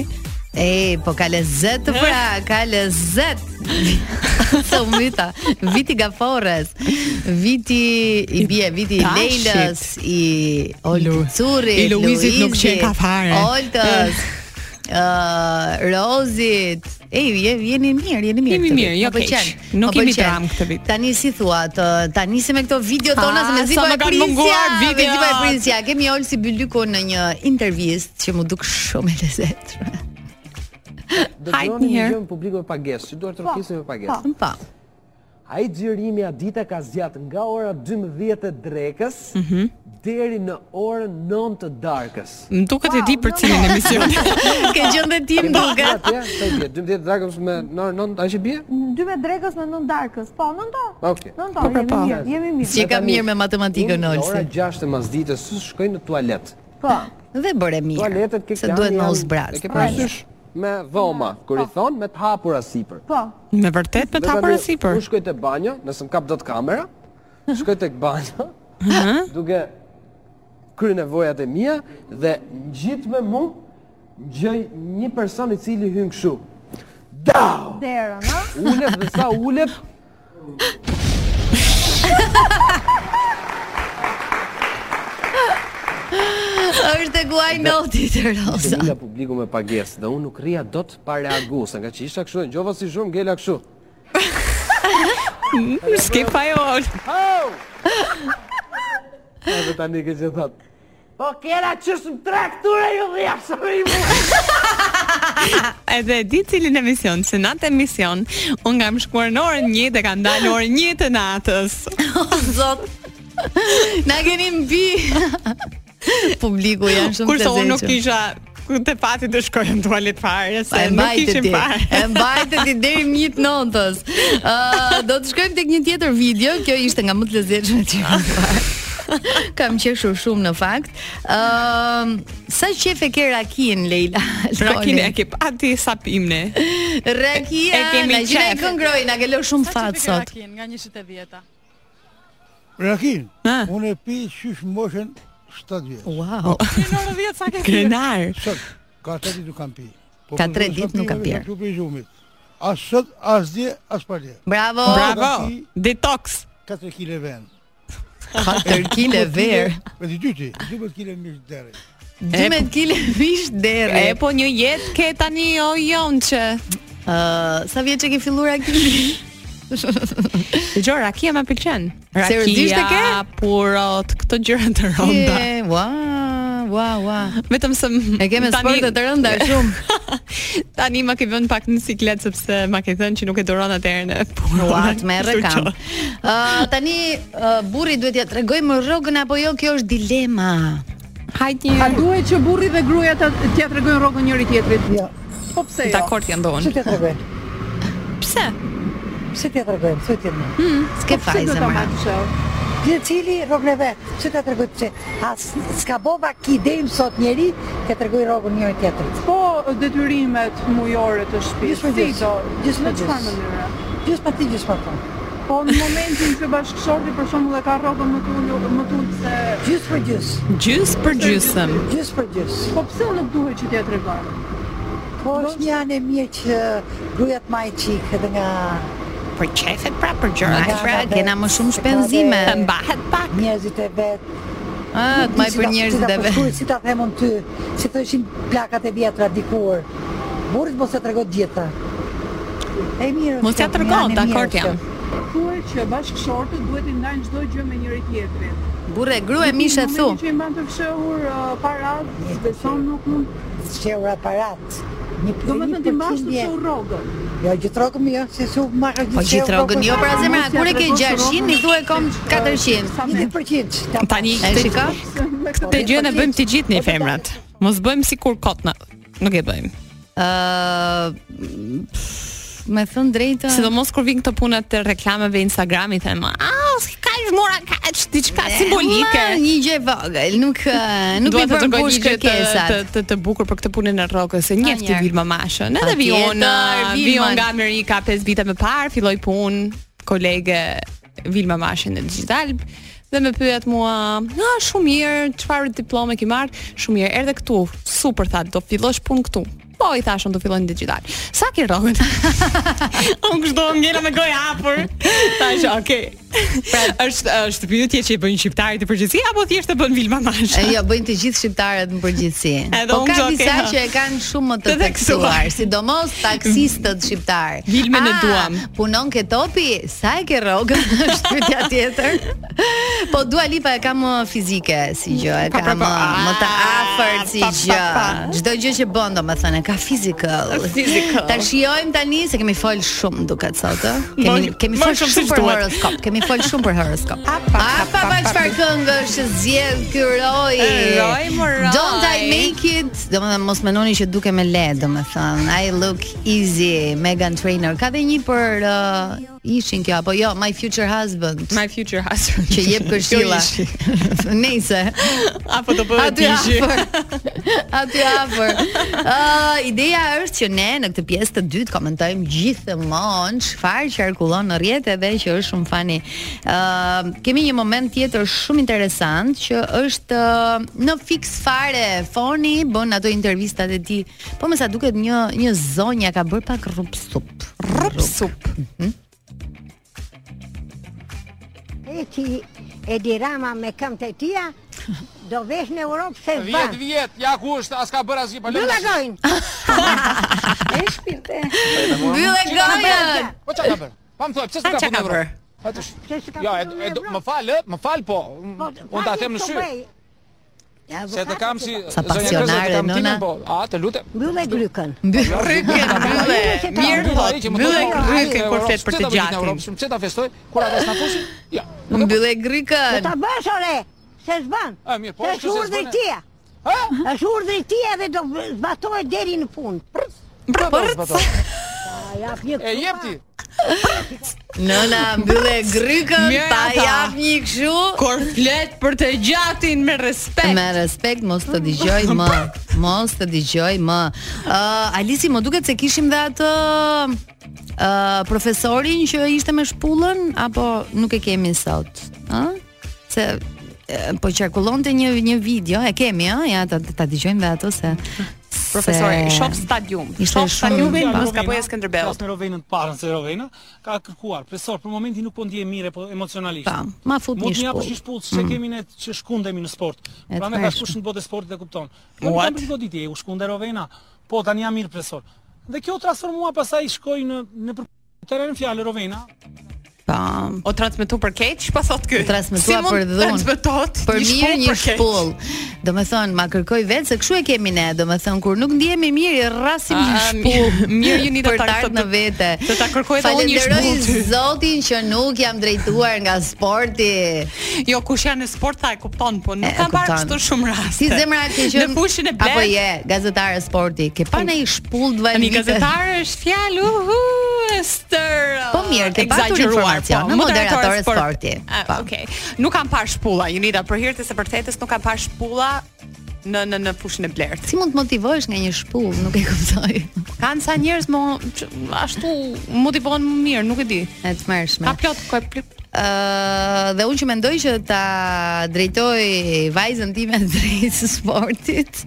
[SPEAKER 7] E, po ka lezet të pra, ka lezet. Sa u myta. Viti gaforres. Viti i bie, viti i
[SPEAKER 8] Pashit.
[SPEAKER 7] Leilës, i Olurcurit,
[SPEAKER 8] I Luizit nuk qen ka fare.
[SPEAKER 7] Oltës. ë Rozit. Ej, je, jeni mirë, jeni mirë.
[SPEAKER 8] Jemi
[SPEAKER 7] këtë
[SPEAKER 8] mirë,
[SPEAKER 7] vit.
[SPEAKER 8] jo
[SPEAKER 7] Më pëlqen,
[SPEAKER 8] keq. Nuk
[SPEAKER 7] më
[SPEAKER 8] kemi
[SPEAKER 7] pëlqen.
[SPEAKER 8] dram këtë vit.
[SPEAKER 7] Tani si thua, të tani si me këto video tona
[SPEAKER 8] Ah,
[SPEAKER 7] se me zi
[SPEAKER 8] sa
[SPEAKER 7] po
[SPEAKER 8] më
[SPEAKER 7] e
[SPEAKER 8] kanë
[SPEAKER 7] prisja,
[SPEAKER 8] munguar
[SPEAKER 7] me zi po e
[SPEAKER 8] videot.
[SPEAKER 7] prisja. Kemi Olsi Bylyku në një intervistë që mu duk shumë e lezetshme.
[SPEAKER 8] Hajt një herë
[SPEAKER 9] në publiko me pagesë, që duar të rëfisë me pagesë.
[SPEAKER 7] Po.
[SPEAKER 9] A i gjërimi a dita ka zjatë nga ora 12 të drekës, deri në orën 9 të darkës.
[SPEAKER 8] Më duket e di për cilin emision
[SPEAKER 7] Ke gjendë ti më duket.
[SPEAKER 9] Atje, sa i bje, 12 të drekës me në orën 9, a që bje?
[SPEAKER 10] 12 drekës me nën darkës. Po, nën to.
[SPEAKER 9] Okej.
[SPEAKER 10] Nën to, jemi
[SPEAKER 8] po.
[SPEAKER 10] mirë, jemi mirë.
[SPEAKER 7] Si e ka mirë me matematikën
[SPEAKER 9] Unë Në
[SPEAKER 7] Olsi.
[SPEAKER 9] orën 6 të mazditës së shkoj në tualet.
[SPEAKER 10] Po.
[SPEAKER 7] Dhe bëre mirë.
[SPEAKER 9] Tualetet ke
[SPEAKER 7] Se duhet më
[SPEAKER 9] E
[SPEAKER 7] uzbraz.
[SPEAKER 9] ke parasysh me dhoma, kur i thonë me të hapur asipër.
[SPEAKER 10] Po.
[SPEAKER 8] Me vërtet me ta
[SPEAKER 9] Vetëm
[SPEAKER 8] përësipër
[SPEAKER 9] Unë shkoj te banjo, nëse më kap dot kamera, shkoj tek banjo, duke kryer nevojat e mia dhe ngjit me mua gjej një person i cili hyn kështu. Dau!
[SPEAKER 10] Derën, a?
[SPEAKER 9] Ulet dhe sa ulet
[SPEAKER 7] Është e guaj noti të
[SPEAKER 9] Se
[SPEAKER 7] Rosa.
[SPEAKER 9] nga publiku me pagesë dhe unë nuk rria dot pa reagu, se nga që isha kështu, ngjova si zhurmë ngela kështu.
[SPEAKER 8] Ske fajol
[SPEAKER 9] Edhe tani ke që thot.
[SPEAKER 3] Po kera që shumë traktura ju dhja shumë i mu.
[SPEAKER 8] Edhe e di cilin emision Se natë emision Unë kam shkuar në orën një Dhe kam dalë në orën një të natës
[SPEAKER 7] Zot. Na keni mbi. Publiku janë shumë të
[SPEAKER 8] Kurse
[SPEAKER 7] zëqëm.
[SPEAKER 8] unë nuk isha Të pati të shkoj në tualet fare
[SPEAKER 7] Pa,
[SPEAKER 8] Se
[SPEAKER 7] e
[SPEAKER 8] nuk
[SPEAKER 7] mbajtë
[SPEAKER 8] ishim
[SPEAKER 7] ti. E
[SPEAKER 8] fare
[SPEAKER 7] mbajtë ti deri në një të notës. Ë, do të shkojmë tek një tjetër video. Kjo ishte nga më të lezetshmet që kam parë. Kam qeshur shumë në fakt. Ëm, sa qef e ke rakin Leila?
[SPEAKER 8] Rakin e ke pati sapimne E
[SPEAKER 7] Rakia,
[SPEAKER 8] kemi
[SPEAKER 7] na gjëra e
[SPEAKER 8] qef.
[SPEAKER 7] këngroj, na ke lë shumë fat sot.
[SPEAKER 10] Nga 180.
[SPEAKER 11] Rakin,
[SPEAKER 8] Ha?
[SPEAKER 11] unë e pi qysh moshën Po, 7 vjetë.
[SPEAKER 7] Wow.
[SPEAKER 8] Krenar
[SPEAKER 11] Sot, ka 3 ditë nuk kam pi. Po,
[SPEAKER 7] Ka
[SPEAKER 11] për
[SPEAKER 7] tre
[SPEAKER 11] zotin,
[SPEAKER 7] ditë
[SPEAKER 11] s'kam
[SPEAKER 7] nuk
[SPEAKER 11] pi,
[SPEAKER 7] ka
[SPEAKER 11] veç
[SPEAKER 7] pirë.
[SPEAKER 11] nga Klubi i gjumit. As sot, as dje, as palje.
[SPEAKER 7] Bravo.
[SPEAKER 8] Bravo Detox
[SPEAKER 11] 4 kile ven.
[SPEAKER 7] 4 kg ver.
[SPEAKER 11] Me të dyti, 12 kile mish deri.
[SPEAKER 7] 12 kg mish
[SPEAKER 8] E
[SPEAKER 7] derë.
[SPEAKER 8] po një jetë ke tani o jonë që
[SPEAKER 7] Ë, sa vjeç e ke filluar Akili?
[SPEAKER 8] Dëgjoj, rakia më pëlqen.
[SPEAKER 7] Seriozisht e ke?
[SPEAKER 8] purot, këto gjëra të rënda.
[SPEAKER 7] Je, Ua, ua, ua.
[SPEAKER 8] Vetëm se
[SPEAKER 7] E ke me sporte të rënda shumë.
[SPEAKER 8] Tani më ke vënë pak në siklet sepse më ke thënë që nuk e duron atëherën e purot.
[SPEAKER 7] Ua, të merre
[SPEAKER 8] Kështu
[SPEAKER 7] kam.
[SPEAKER 8] që-
[SPEAKER 7] Ë, tani ë, burri duhet ja tregoj më rrogën apo jo, kjo është dilema.
[SPEAKER 8] Hajt një
[SPEAKER 12] A duhet që burri dhe gruaja ta t'ia tregojnë rrogën njëri tjetrit? Jo. Po pse jo?
[SPEAKER 8] Dakord janë doon.
[SPEAKER 12] Ç'të tregoj?
[SPEAKER 8] Pse?
[SPEAKER 2] Pse t'ja tregojmë? Pse t'ja tregojmë?
[SPEAKER 8] Mm,
[SPEAKER 12] s'ke Po pse fajze, do ta mra. marrë
[SPEAKER 2] Dhe cili rrogën e vetë, që të tregoj pse? As s'ka bova ki idejm sot njeri, të tregoj rrogën njëri tjetrit.
[SPEAKER 12] Po detyrimet mujore të shtëpisë.
[SPEAKER 2] Gjithmonë gjys.
[SPEAKER 12] Si do?
[SPEAKER 2] Gjithmonë
[SPEAKER 12] Në çfarë
[SPEAKER 2] gjys.
[SPEAKER 12] mënyre?
[SPEAKER 2] Gjithmonë ti gjithmonë po.
[SPEAKER 12] Po në momentin që bashkëshorti për shembull e ka rrogën më tul më tul se
[SPEAKER 2] gjys për gjys.
[SPEAKER 8] Gjys për gjysëm.
[SPEAKER 2] Gjys për gjys.
[SPEAKER 12] Po pse nuk duhet që t'ia tregoj?
[SPEAKER 2] Po është një anë e mirë që grujat ma i qikë edhe nga...
[SPEAKER 8] Për qefet pra, për
[SPEAKER 7] gjërat, pra, kena më shumë shpenzime. Të mbahet
[SPEAKER 2] pak. Njerëzit e vetë.
[SPEAKER 7] Ah,
[SPEAKER 2] Nuk
[SPEAKER 7] të maj
[SPEAKER 2] di si
[SPEAKER 7] për
[SPEAKER 2] ta-
[SPEAKER 7] njerëzit
[SPEAKER 2] si ta
[SPEAKER 7] e vetë.
[SPEAKER 2] përshkruaj, Si ta them unë ty, si të ishin plakat e vjetra dikur. Burrit mos e tregon gjitha. E mirë.
[SPEAKER 12] Mos ja tregon, dakord jam.
[SPEAKER 2] Thuaj
[SPEAKER 12] Që bashkëshortët duhet i ndajnë çdo gjë me njëri tjetrin.
[SPEAKER 7] Burre, grua e mishe
[SPEAKER 12] Në
[SPEAKER 7] thu.
[SPEAKER 12] momentin Që i mban të fshehur uh, parat, beson nuk mund
[SPEAKER 2] fshehur aparat. Një
[SPEAKER 12] Do më thënë ti mbash të
[SPEAKER 2] përqindje.
[SPEAKER 12] fshehur rrogën.
[SPEAKER 2] Jo, gjithë rrogën jo, se su ma ka gjithë.
[SPEAKER 7] Po gjithë rrogën jo, pra zemra, kur e ke 600, i thua e kom 400.
[SPEAKER 2] 1%.
[SPEAKER 8] Tani
[SPEAKER 7] E shiko?
[SPEAKER 8] Këtë gjë ne bëjmë të gjithë ne femrat. Mos bëjmë sikur kot na. Nuk e bëjmë.
[SPEAKER 7] Ah. Ë, me thën drejtë.
[SPEAKER 8] Sidomos kur vin këto punat të reklameve Instagramit them, "Ah, ka mora kaq diçka simbolike."
[SPEAKER 7] Ma, Një gjë e vogël, nuk ë, nuk
[SPEAKER 8] Dua
[SPEAKER 7] i
[SPEAKER 8] të tregoj
[SPEAKER 7] përmbush
[SPEAKER 8] një gjë të-
[SPEAKER 7] kërkesat.
[SPEAKER 8] Të, të, të bukur për këtë punën e rrokës, se njeh ti
[SPEAKER 7] Njëherë.
[SPEAKER 8] Vilma Mashën. Edhe
[SPEAKER 7] Patjetër,
[SPEAKER 8] vion, uh, vion
[SPEAKER 7] Vilman.
[SPEAKER 8] nga Amerika 5 vite më parë, filloi punë kolege Vilma Mashën në Digital dhe më pyet mua, "Ah, shumë mirë, çfarë diplome ke marrë?" Shumë mirë, erdhe këtu. Super tha, do fillosh punë këtu. Po i thashën do filloj në digital. Sa ke rrogën? Unë kështu ngela me gojë hapur. Tash, okay. Pra, është është pyetje që i bëjnë shqiptarit të përgjithësi apo thjesht e bën Vilma Masha?
[SPEAKER 7] E, Jo, bëjnë të gjithë shqiptarët në përgjithësi.
[SPEAKER 8] Edhe
[SPEAKER 7] Po
[SPEAKER 8] unë
[SPEAKER 7] ka
[SPEAKER 8] gjo,
[SPEAKER 7] disa
[SPEAKER 8] okay, ha.
[SPEAKER 7] që e kanë shumë më të
[SPEAKER 8] Të theksuar.
[SPEAKER 7] theksuar, sidomos taksistët shqiptar.
[SPEAKER 8] Vilmen e
[SPEAKER 7] Ah,
[SPEAKER 8] duam.
[SPEAKER 7] Punon ke topi, sa e ke rrogën? Është pyetja tjetër. Po Dua Lipa e ka më fizike si gjë, e
[SPEAKER 8] Pa, pa,
[SPEAKER 7] ka më
[SPEAKER 8] pa.
[SPEAKER 7] më të afërt si
[SPEAKER 8] Pa, pa,
[SPEAKER 7] gjë.
[SPEAKER 8] pa.
[SPEAKER 7] Çdo gjë që bën, domethënë, ka physical.
[SPEAKER 8] Physical.
[SPEAKER 7] Ta shijojmë tani se kemi fol shumë duket sot, ë? Kemi
[SPEAKER 8] Më-
[SPEAKER 7] kemi
[SPEAKER 8] më
[SPEAKER 7] fol
[SPEAKER 8] shumë
[SPEAKER 7] shumë
[SPEAKER 8] se
[SPEAKER 7] për
[SPEAKER 8] duhet.
[SPEAKER 7] horoskop. Kemi fol shumë për horoskop. A pa pa çfarë këngë është zgjedh ky roj?
[SPEAKER 8] Roj, mo, roj.
[SPEAKER 7] Don't I make it? Domethënë mos mendoni që duke me le, domethënë. I look easy, Megan Trainor. Ka dhe një për uh, ishin kjo apo jo, My Future Husband.
[SPEAKER 8] My Future Husband. Jo,
[SPEAKER 7] Që jep këshilla.
[SPEAKER 8] Kjo
[SPEAKER 7] Nëse.
[SPEAKER 8] Apo do bëhet
[SPEAKER 7] Aty
[SPEAKER 8] ishi.
[SPEAKER 7] afër. Aty afër. Ë, ideja është që ne në këtë pjesë të dytë komentojmë gjithmonë çfarë qarkullon në rrjet edhe që është shumë fani. Ë, kemi një moment tjetër shumë interesant që është ë, në fiks fare foni bën ato intervistat e tij. Po më sa duket një një zonja ka bër pak rrup sup. Rrup
[SPEAKER 8] sup.
[SPEAKER 13] E ti e dirama me këmët e tia, do vesh në Europë se
[SPEAKER 5] Vjet,
[SPEAKER 13] zban.
[SPEAKER 5] vjet, ja ku është, as ka bërë asgjë po pa
[SPEAKER 13] Mbyll e
[SPEAKER 5] lëndë.
[SPEAKER 13] gojnë. E shpirte. Mbyll
[SPEAKER 5] e gojën. Po çka ka bërë? Pa më thoj, pse s'ka
[SPEAKER 13] Pa, çka
[SPEAKER 5] punë
[SPEAKER 13] ka
[SPEAKER 5] Evropë? Atë është. Jo, e, e, do- më fal, ë, më fal po. Unë ta them në sy. Se të kam si
[SPEAKER 7] Sa
[SPEAKER 5] zonja Kreza,
[SPEAKER 7] pasionare,
[SPEAKER 5] të kam timin,
[SPEAKER 7] nëna.
[SPEAKER 5] Po, a të lutem.
[SPEAKER 13] Mbyll e grykën.
[SPEAKER 7] Mbyll
[SPEAKER 5] grykën, mbyll e.
[SPEAKER 13] Mirë thot, mbyll e grykën po, kur flet për të gjatin.
[SPEAKER 5] Pse ta festoj kur ata s'na fusin? Jo.
[SPEAKER 7] Mbyll e
[SPEAKER 13] Do
[SPEAKER 7] grikën.
[SPEAKER 13] ta bësh ore, se zban.
[SPEAKER 5] A, mirë, po,
[SPEAKER 13] Se
[SPEAKER 5] kështu
[SPEAKER 13] është
[SPEAKER 5] se
[SPEAKER 13] urdhri
[SPEAKER 5] zban e-
[SPEAKER 13] tia.
[SPEAKER 5] Ha?
[SPEAKER 13] Është urdhri tia dhe do zbatohet deri në fund.
[SPEAKER 5] Për.
[SPEAKER 13] Jap një
[SPEAKER 5] E jep ti.
[SPEAKER 7] Nëna mbyll e grikën,
[SPEAKER 8] Mirë
[SPEAKER 7] ta
[SPEAKER 8] ata.
[SPEAKER 7] jap një kështu.
[SPEAKER 8] Kur flet për të gjatin me respekt.
[SPEAKER 7] Me respekt mos të dëgjoj më, mos të dëgjoj më. Ë Alisi, më duket se kishim dhe atë ë profesorin që ishte me shpullën apo nuk e kemi sot, ë? Se e, po qarkullonte një një video, e kemi ë, ja ta, ta dëgjojmë dhe ato se
[SPEAKER 8] Profesor,
[SPEAKER 7] se-
[SPEAKER 8] shof stadium.
[SPEAKER 7] Ishte
[SPEAKER 8] Shof
[SPEAKER 7] shumë-
[SPEAKER 8] stadium
[SPEAKER 7] Rovena,
[SPEAKER 8] pas ka
[SPEAKER 14] Rovena,
[SPEAKER 8] poje Skënderbeut.
[SPEAKER 14] Pas në Rovenën të parën se Rovena ka kërkuar. Profesor, për momentin nuk po ndjej mirë po emocionalisht.
[SPEAKER 7] Pa, ma fut një
[SPEAKER 14] Mund të
[SPEAKER 7] shpull.
[SPEAKER 14] japësh një shpull se
[SPEAKER 7] Mm.
[SPEAKER 14] kemi ne që shkundemi në sport.
[SPEAKER 7] E
[SPEAKER 14] Pra me
[SPEAKER 7] të
[SPEAKER 14] ka
[SPEAKER 7] pashme.
[SPEAKER 14] shkush në botë e sportit e kupton.
[SPEAKER 7] What?
[SPEAKER 14] Unë kam goditje, u shkunde Rovena. Po tani jam mirë profesor. Dhe kjo u transformua pasaj shkoi në në për- terren fjalë Rovena.
[SPEAKER 7] Po.
[SPEAKER 8] O transmetu për keq, pa thot ky.
[SPEAKER 7] U transmetua për
[SPEAKER 8] Si
[SPEAKER 7] dhunë.
[SPEAKER 8] mund transmetohet
[SPEAKER 7] Për
[SPEAKER 8] një
[SPEAKER 7] mirë
[SPEAKER 8] shpull
[SPEAKER 7] një
[SPEAKER 8] për keq?
[SPEAKER 7] shpull. Domethën ma kërkoj vetë se kshu e kemi ne, domethën kur nuk ndihemi mirë i rrasim një
[SPEAKER 8] Ah,
[SPEAKER 7] shpull.
[SPEAKER 8] mi- mirë ju nita
[SPEAKER 7] për
[SPEAKER 8] ta-
[SPEAKER 7] të
[SPEAKER 8] të-
[SPEAKER 7] ardhur në vete.
[SPEAKER 8] të ta kërkoj edhe unë një shpull ty.
[SPEAKER 7] Falenderoj Zotin që nuk jam drejtuar nga sporti.
[SPEAKER 8] Jo, kush janë në sport tha e kupton, po nuk
[SPEAKER 7] E,
[SPEAKER 8] kam parë
[SPEAKER 7] kupton.
[SPEAKER 8] kështu shumë raste.
[SPEAKER 7] Si zemra ke qenë
[SPEAKER 8] në fushën e blet.
[SPEAKER 7] Apo je gazetare sporti. Ke pa ndonjë shpull të
[SPEAKER 8] Ani
[SPEAKER 7] valvite?
[SPEAKER 8] gazetare është fjalë, uhu, e stër.
[SPEAKER 7] Po mirë, ke patur
[SPEAKER 8] egzageruar,
[SPEAKER 7] informacion, në moderatore
[SPEAKER 8] sport-
[SPEAKER 7] sporti.
[SPEAKER 8] Ah,
[SPEAKER 7] Po.
[SPEAKER 8] Okej. Nuk kam parë shpulla, Unida, për hir të së vërtetës nuk kam parë shpulla në në në fushën e blert.
[SPEAKER 7] Si mund të motivohesh nga një shpull, nuk e kuptoj.
[SPEAKER 8] Kanë sa njerëz më që ashtu motivon më mirë, nuk e di.
[SPEAKER 7] E të mërshme.
[SPEAKER 8] Ka plot ka plot.
[SPEAKER 7] Ë dhe unë që mendoj që ta drejtoj vajzën time drejt sportit.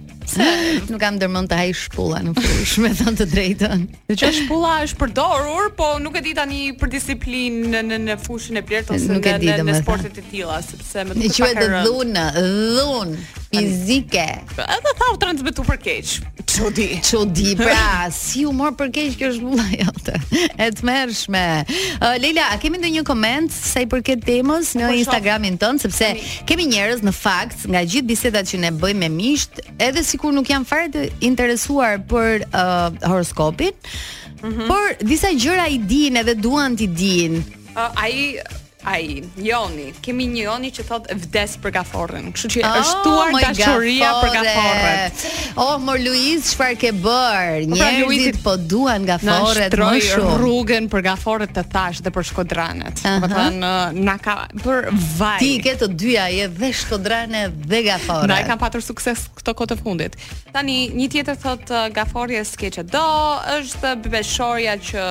[SPEAKER 7] nuk kam ndërmend të haj shpulla në fush, me thënë të drejtën.
[SPEAKER 8] Dhe që shpulla është përdorur, po nuk e di tani për disiplinë në në, në fushën e blert ose
[SPEAKER 7] Nuk e
[SPEAKER 8] në,
[SPEAKER 7] di,
[SPEAKER 8] në, në
[SPEAKER 7] domethënë.
[SPEAKER 8] sportet e tilla, sepse më
[SPEAKER 7] Ne
[SPEAKER 8] duket po pak
[SPEAKER 7] quhet
[SPEAKER 8] e rëndë.
[SPEAKER 7] dhunë, dhunë fizike.
[SPEAKER 8] Edhe tha u transmetu për keq. Çudi.
[SPEAKER 7] Çudi, pra, si u mor për keq kjo shpulla jote. E tmerrshme. Uh, Leila, a kemi ndonjë koment sa i përket temës në
[SPEAKER 8] Po, shoh.
[SPEAKER 7] Instagramin tënd sepse kemi njerëz në fakt nga gjithë bisedat që ne bëjmë me miqt, edhe sikur nuk janë fare të interesuar për uh, horoskopin,
[SPEAKER 8] Mhm.
[SPEAKER 7] por disa gjëra i dinë edhe duan t'i dinë.
[SPEAKER 8] Ë, ai ai Joni, kemi një Joni që thot vdes për gaforrën. Kështu që
[SPEAKER 7] Oh,
[SPEAKER 8] është tuar
[SPEAKER 7] moj
[SPEAKER 8] dashuria për
[SPEAKER 7] gafore.
[SPEAKER 8] gaforrën.
[SPEAKER 7] Oh, mor Luiz, çfarë ke bër?
[SPEAKER 8] Po pra,
[SPEAKER 7] Njerëzit
[SPEAKER 8] Luizit
[SPEAKER 7] po duan
[SPEAKER 8] Na
[SPEAKER 7] gaforet më
[SPEAKER 8] shtroi
[SPEAKER 7] shumë.
[SPEAKER 8] rrugën për gaforët të thash dhe për shkodranet.
[SPEAKER 7] Aha.
[SPEAKER 8] Do të thënë na ka për vaj.
[SPEAKER 7] Ti ke të dyja, je dhe shkodrane dhe gafore.
[SPEAKER 8] Na e kam patur sukses këto kohë të fundit. Tani një tjetër thot uh, gaforja s'ke që do, është bebeshorja që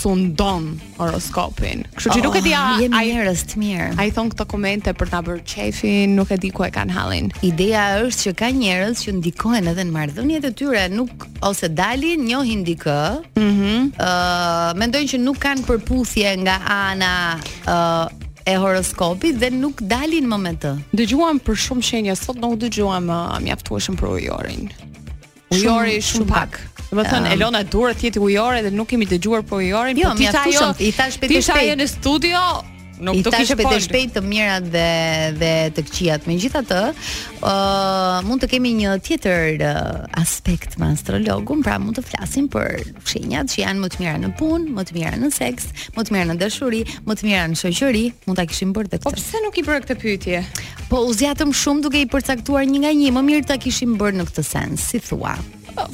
[SPEAKER 8] sundon horoskopin. Kështu që nuk e di a
[SPEAKER 7] Oh, jemi
[SPEAKER 8] ai
[SPEAKER 7] njerëz të mirë.
[SPEAKER 8] ai thon këto komente për ta bërë çefin, nuk e di ku e kanë hallin.
[SPEAKER 7] Ideja është që ka njerëz që ndikohen edhe në marrëdhëniet e tyre, nuk ose dalin, njohin dikë. Ëh,
[SPEAKER 8] Mhm.
[SPEAKER 7] mendojnë që nuk kanë përputhje nga ana ë e horoskopit dhe nuk dalin më me të.
[SPEAKER 8] Dëgjuam për shumë shenja sot, nuk dëgjuam uh, mjaftueshëm për ujorin. Ujori
[SPEAKER 7] Shumë-
[SPEAKER 8] shumë,
[SPEAKER 7] shumë
[SPEAKER 8] pak. Do të thënë
[SPEAKER 7] Ja.
[SPEAKER 8] Elona duhet të jetë ujore dhe nuk kemi dëgjuar për ujorin,
[SPEAKER 7] Jo,
[SPEAKER 8] po ti tha ajo,
[SPEAKER 7] mjaftueshëm, i thash shpejt e
[SPEAKER 8] ti tha ajo
[SPEAKER 7] shpejt.
[SPEAKER 8] në studio, nuk
[SPEAKER 7] i
[SPEAKER 8] do
[SPEAKER 7] tash
[SPEAKER 8] kishe
[SPEAKER 7] shpejt e
[SPEAKER 8] fol.
[SPEAKER 7] shpejt të mirat dhe dhe të këqijat. Megjithatë, ë mund të kemi një tjetër uh, aspekt me astrologun, pra mund të flasim për shenjat që janë më të mira në punë, më të mira në seks, më të mira në dashuri, më të mira në shoqëri, mund ta kishim bërë dhe
[SPEAKER 8] Po
[SPEAKER 7] këtë.
[SPEAKER 8] pse nuk i bëre këtë pyetje?
[SPEAKER 7] Po, u zjatëm shumë duke i përcaktuar një nga një, më mirë ta kishim bërë në këtë sens, si thua.
[SPEAKER 8] Po,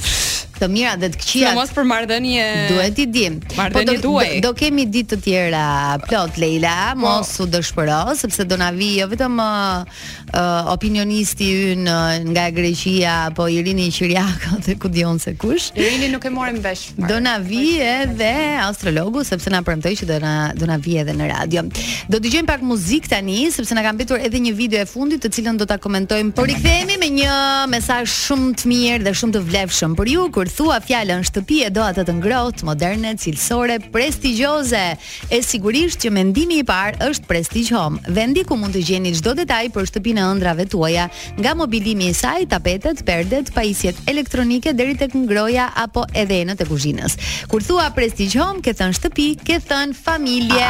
[SPEAKER 7] Të mira dhe të
[SPEAKER 8] Në
[SPEAKER 7] këqijat
[SPEAKER 8] mos për marrëdhënie.
[SPEAKER 7] Duhet i dim. Po
[SPEAKER 8] Marrëdhënie
[SPEAKER 7] do, do,
[SPEAKER 8] duaj.
[SPEAKER 7] do kemi ditë të tjera plot Leila, mos u dëshpëro sepse do na vi jo vetëm uh, uh, opinionisti ynë uh, nga Greqia apo Irini Qiriako dhe ku dion se kush.
[SPEAKER 8] Irini nuk e morëm vesh. fare.
[SPEAKER 7] Do na vi edhe astrologu sepse na premtoi që do na do na vi edhe në radio. Do dëgjojmë pak muzikë tani sepse na ka mbetur edhe një video e fundit të cilën do ta komentojmë. Por rikthehemi me një mesazh shumë të mirë dhe shumë të vlefshëm për ju kur thua fjalën shtëpi e doa të të ngrohtë, moderne, cilësore, prestigjioze. E sigurisht që mendimi i parë është Prestige Home, vendi ku mund të gjeni çdo detaj për shtëpinë e ëndrave tuaja, nga mobilimi i saj, tapetet, perdet, pajisjet elektronike deri tek ngroja apo edhe enët e kuzhinës. Kur thua Prestige Home, ke thënë shtëpi, ke thënë familje.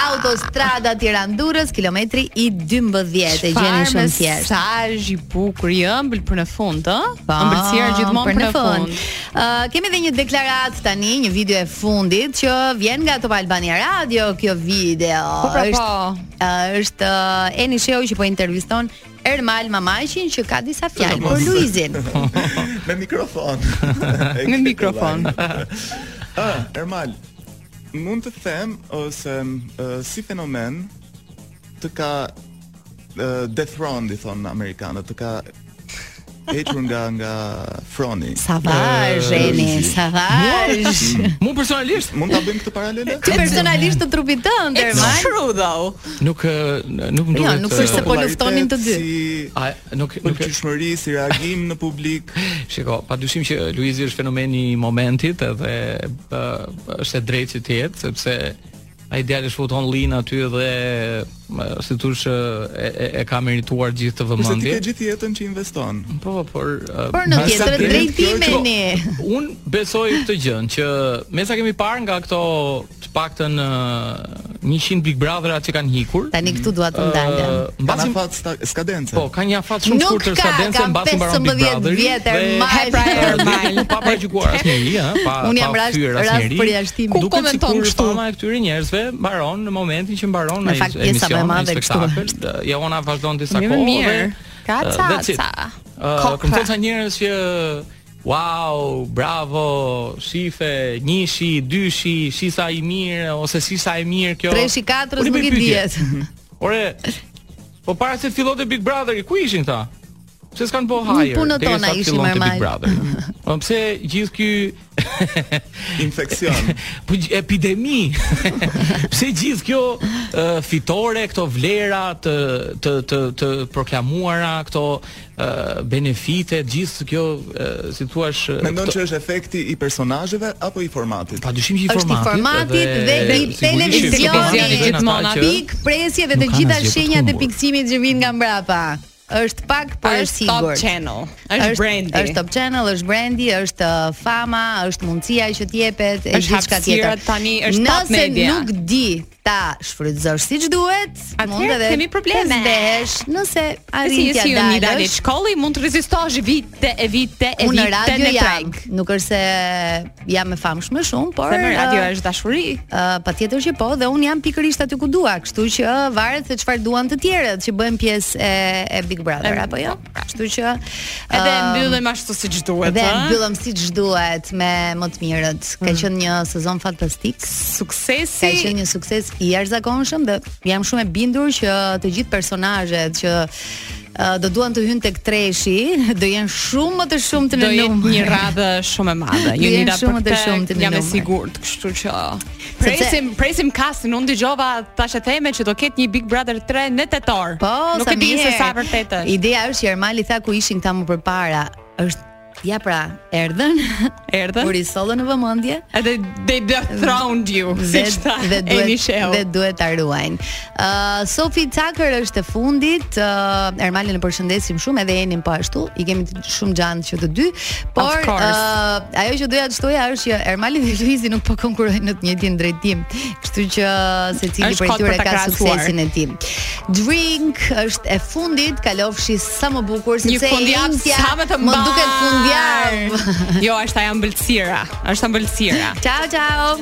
[SPEAKER 7] Autostrada Tiranë-Durrës, kilometri i 12 e gjeni shumë thjesht.
[SPEAKER 8] Mesazh i bukur i ëmbël për në fund, ë? Ëmbëlsira gjithmonë Po, për në fund.
[SPEAKER 7] Uh, kemi edhe një deklaratë tani, një video e fundit që vjen nga Top Albania Radio, kjo video.
[SPEAKER 8] Po, pra,
[SPEAKER 7] është
[SPEAKER 8] po.
[SPEAKER 7] uh, është uh, Eni Sheu që po interviston Ermal Mamaqin që ka disa fjalë për Luizin.
[SPEAKER 15] Me mikrofon.
[SPEAKER 8] Me mikrofon.
[SPEAKER 15] ah, Ermal, mund të them ose ë, si fenomen të ka uh, dethroned i thon amerikanët, të ka hequr nga nga froni.
[SPEAKER 7] Savazh,
[SPEAKER 15] Ë,
[SPEAKER 7] Eni,
[SPEAKER 15] Luizi.
[SPEAKER 7] savazh.
[SPEAKER 16] Mu personalisht
[SPEAKER 15] Mund ta bëjmë këtë paralele?
[SPEAKER 7] Ti personalisht të trupit tënd, Ermal.
[SPEAKER 8] true though.
[SPEAKER 16] nuk ë, nuk më duhet.
[SPEAKER 7] Jo, nuk
[SPEAKER 16] ë,
[SPEAKER 7] është se po luftonin të dy.
[SPEAKER 16] A nuk nuk
[SPEAKER 15] qyshmëri si reagim në publik.
[SPEAKER 16] Shiko, padyshim që Luizi është fenomeni i momentit edhe ë, është e drejtë që të jetë sepse ai djalë është futon lin aty dhe ë, si thosh ë, e, e, e ka merituar gjithë të
[SPEAKER 15] Kurse ti ke
[SPEAKER 16] vëmendjen.
[SPEAKER 15] gjithë jetën që investon.
[SPEAKER 16] Po, por
[SPEAKER 7] Por në tjetër drejtimeni.
[SPEAKER 16] Un besoj këtë gjën që me sa kemi parë nga këto të paktën ë, 100 Big Brothera që kanë hikur.
[SPEAKER 7] Tani këtu dua të ndalem.
[SPEAKER 16] Ë, mbasi
[SPEAKER 15] Kanë afat sta- skadence.
[SPEAKER 16] Po, ka një afat shumë
[SPEAKER 7] Nuk
[SPEAKER 16] shkurtër
[SPEAKER 7] ka,
[SPEAKER 16] sa dance
[SPEAKER 7] kam
[SPEAKER 16] mbasi mbaron
[SPEAKER 7] 15
[SPEAKER 16] Big Brother.
[SPEAKER 7] vjet, Ermal.
[SPEAKER 8] Pra, Ermal.
[SPEAKER 16] Pa paraqyruar asnjëri, ha, pa
[SPEAKER 7] Unë jam
[SPEAKER 16] pa
[SPEAKER 7] rast-
[SPEAKER 16] thyer
[SPEAKER 7] rast
[SPEAKER 16] asnjëri.
[SPEAKER 7] përjashtimi. Ku
[SPEAKER 16] Duket
[SPEAKER 7] komenton
[SPEAKER 16] sikur
[SPEAKER 7] kështu?
[SPEAKER 16] Fama e këtyre njerëzve mbaron në momentin që mbaron
[SPEAKER 7] Në
[SPEAKER 16] ai
[SPEAKER 7] fakt,
[SPEAKER 16] emision.
[SPEAKER 7] pjesa më e madhe
[SPEAKER 16] ai
[SPEAKER 7] kështu
[SPEAKER 16] spektakël. Ë, Ja ona vazhdon disa
[SPEAKER 8] Mirë,
[SPEAKER 13] Po,
[SPEAKER 16] kohë.
[SPEAKER 8] mirë.
[SPEAKER 16] dhe,
[SPEAKER 8] Ka
[SPEAKER 16] ë,
[SPEAKER 8] ca,
[SPEAKER 16] that's it.
[SPEAKER 8] ca.
[SPEAKER 16] Ë,
[SPEAKER 8] Kokra.
[SPEAKER 16] Këmë thonë sa njerëz që Wow, bravo, shife, njëshi, dyshi, shisa i mirë, ose si sa e mirë kjo.
[SPEAKER 7] Treshi, katrës,
[SPEAKER 16] Unë i bëj
[SPEAKER 7] nuk i
[SPEAKER 16] Jo. pyetje.
[SPEAKER 7] dihet.
[SPEAKER 16] Ore, po para se të fillonte Big Brother, ku ishin këta? Pse s'kan po
[SPEAKER 7] Në
[SPEAKER 16] hajër?
[SPEAKER 7] punët
[SPEAKER 16] derisa
[SPEAKER 7] tona
[SPEAKER 16] të
[SPEAKER 7] ishim,
[SPEAKER 16] fillonte
[SPEAKER 7] Ermal.
[SPEAKER 16] Big Brother. Po pse gjithë ky
[SPEAKER 15] infeksion?
[SPEAKER 16] po gj- epidemi. pse gjithë kjo ë, fitore, këto vlera të të të, të proklamuara, këto ë, benefite, gjithë kjo ë, si thua
[SPEAKER 15] Mendon që është efekti i personazheve apo i formatit?
[SPEAKER 16] Padyshim që i
[SPEAKER 7] Është i formatit dhe, i televizionit Pik presjeve të
[SPEAKER 16] Nuk ka
[SPEAKER 7] gjitha
[SPEAKER 16] asgjë për
[SPEAKER 7] shenjat e
[SPEAKER 16] t'humbur.
[SPEAKER 7] piksimit që vijnë nga mbrapa. Është pak por
[SPEAKER 8] Është
[SPEAKER 7] Po, e sigurt.
[SPEAKER 8] Top Channel, është brandi.
[SPEAKER 7] Është Top Channel, është brandi, është uh, fama, është mundësia që t'jepet e
[SPEAKER 8] Është
[SPEAKER 7] gjithçka
[SPEAKER 8] hapësira
[SPEAKER 7] tjetër.
[SPEAKER 8] tani, është top media.
[SPEAKER 7] Nëse nuk di ta shfrytëzosh siç duhet, mund edhe
[SPEAKER 8] kemi probleme.
[SPEAKER 7] të zbehesh nëse
[SPEAKER 8] Si
[SPEAKER 7] arrin
[SPEAKER 8] si
[SPEAKER 7] t'ja
[SPEAKER 8] unë i dali
[SPEAKER 7] dalësh.
[SPEAKER 8] shkolli mund të rezistosh vite e vite e
[SPEAKER 7] Unë në
[SPEAKER 8] vite
[SPEAKER 7] radio
[SPEAKER 8] në
[SPEAKER 7] jam,
[SPEAKER 8] preg.
[SPEAKER 7] nuk është se jam e famshme shumë, por
[SPEAKER 8] Se në radio
[SPEAKER 7] ë,
[SPEAKER 8] është dashuri.
[SPEAKER 7] Uh, patjetër që po dhe un jam pikërisht aty ku dua, kështu që ë, varet se çfarë duan të tjerët që bëjnë pjesë e, e Big Brother
[SPEAKER 8] E,
[SPEAKER 7] apo jo. Kështu që
[SPEAKER 8] Edhe e
[SPEAKER 7] ë,
[SPEAKER 8] mbyllim ashtu siç duhet,
[SPEAKER 7] Dhe e
[SPEAKER 8] ëh?
[SPEAKER 7] mbyllëm siç duhet me më të mirët.
[SPEAKER 8] Mm.
[SPEAKER 7] Ka qenë një sezon fantastik.
[SPEAKER 8] Suksesi.
[SPEAKER 7] Ka qenë një sukses i jashtëzakonshëm dhe jam shumë e bindur që të gjithë personazhet që ë, do duan të hynë tek treshi, do jenë shumë më të shumtë
[SPEAKER 8] Do
[SPEAKER 7] në
[SPEAKER 8] jetë
[SPEAKER 7] numër.
[SPEAKER 8] një radhë shumë e madhe.
[SPEAKER 7] Do
[SPEAKER 8] Ju
[SPEAKER 7] jenë
[SPEAKER 8] nida
[SPEAKER 7] shumë
[SPEAKER 8] për
[SPEAKER 7] të shumtë në
[SPEAKER 8] Jam e
[SPEAKER 7] numër.
[SPEAKER 8] sigurt, kështu që presim presim kastin. Unë dëgjova tash e theme që do ketë një Big Brother 3 në tetor. Po, nuk e di se
[SPEAKER 7] mirë.
[SPEAKER 8] sa vërtet është.
[SPEAKER 7] Ideja është që Ermali tha ku ishin këta më përpara, është Ja pra, erdhën,
[SPEAKER 8] erdhën.
[SPEAKER 7] Kur i sollën në vëmendje,
[SPEAKER 8] edhe they dethroned you.
[SPEAKER 7] Dhe,
[SPEAKER 8] siç tha
[SPEAKER 7] dhe
[SPEAKER 8] Eni
[SPEAKER 7] duhet
[SPEAKER 8] Sheu.
[SPEAKER 7] dhe duhet ta ruajnë. Ë Sofi Tucker është e fundit. Uh, Ermalin e përshëndesim shumë edhe Enin po ashtu. I kemi të- shumë gjanë që të dy, por
[SPEAKER 8] course.
[SPEAKER 7] ë, ajo që doja të shtoja është që Ermali dhe Luizi nuk po konkurrojnë në të njëjtin drejtim. Kështu që secili
[SPEAKER 8] Është
[SPEAKER 7] prej
[SPEAKER 8] kohë për
[SPEAKER 7] tyre
[SPEAKER 8] ta
[SPEAKER 7] ka
[SPEAKER 8] krahasuar.
[SPEAKER 7] suksesin e tij. Drink është e fundit, kalofshi sa më bukur
[SPEAKER 8] Një
[SPEAKER 7] sepse
[SPEAKER 8] fundjavë
[SPEAKER 7] Intja
[SPEAKER 8] sa më të mbar.
[SPEAKER 7] Më duket fundjavë.
[SPEAKER 8] jo, është ajo ëmbëlsira. Është ëmbëlsira.
[SPEAKER 7] ciao ciao.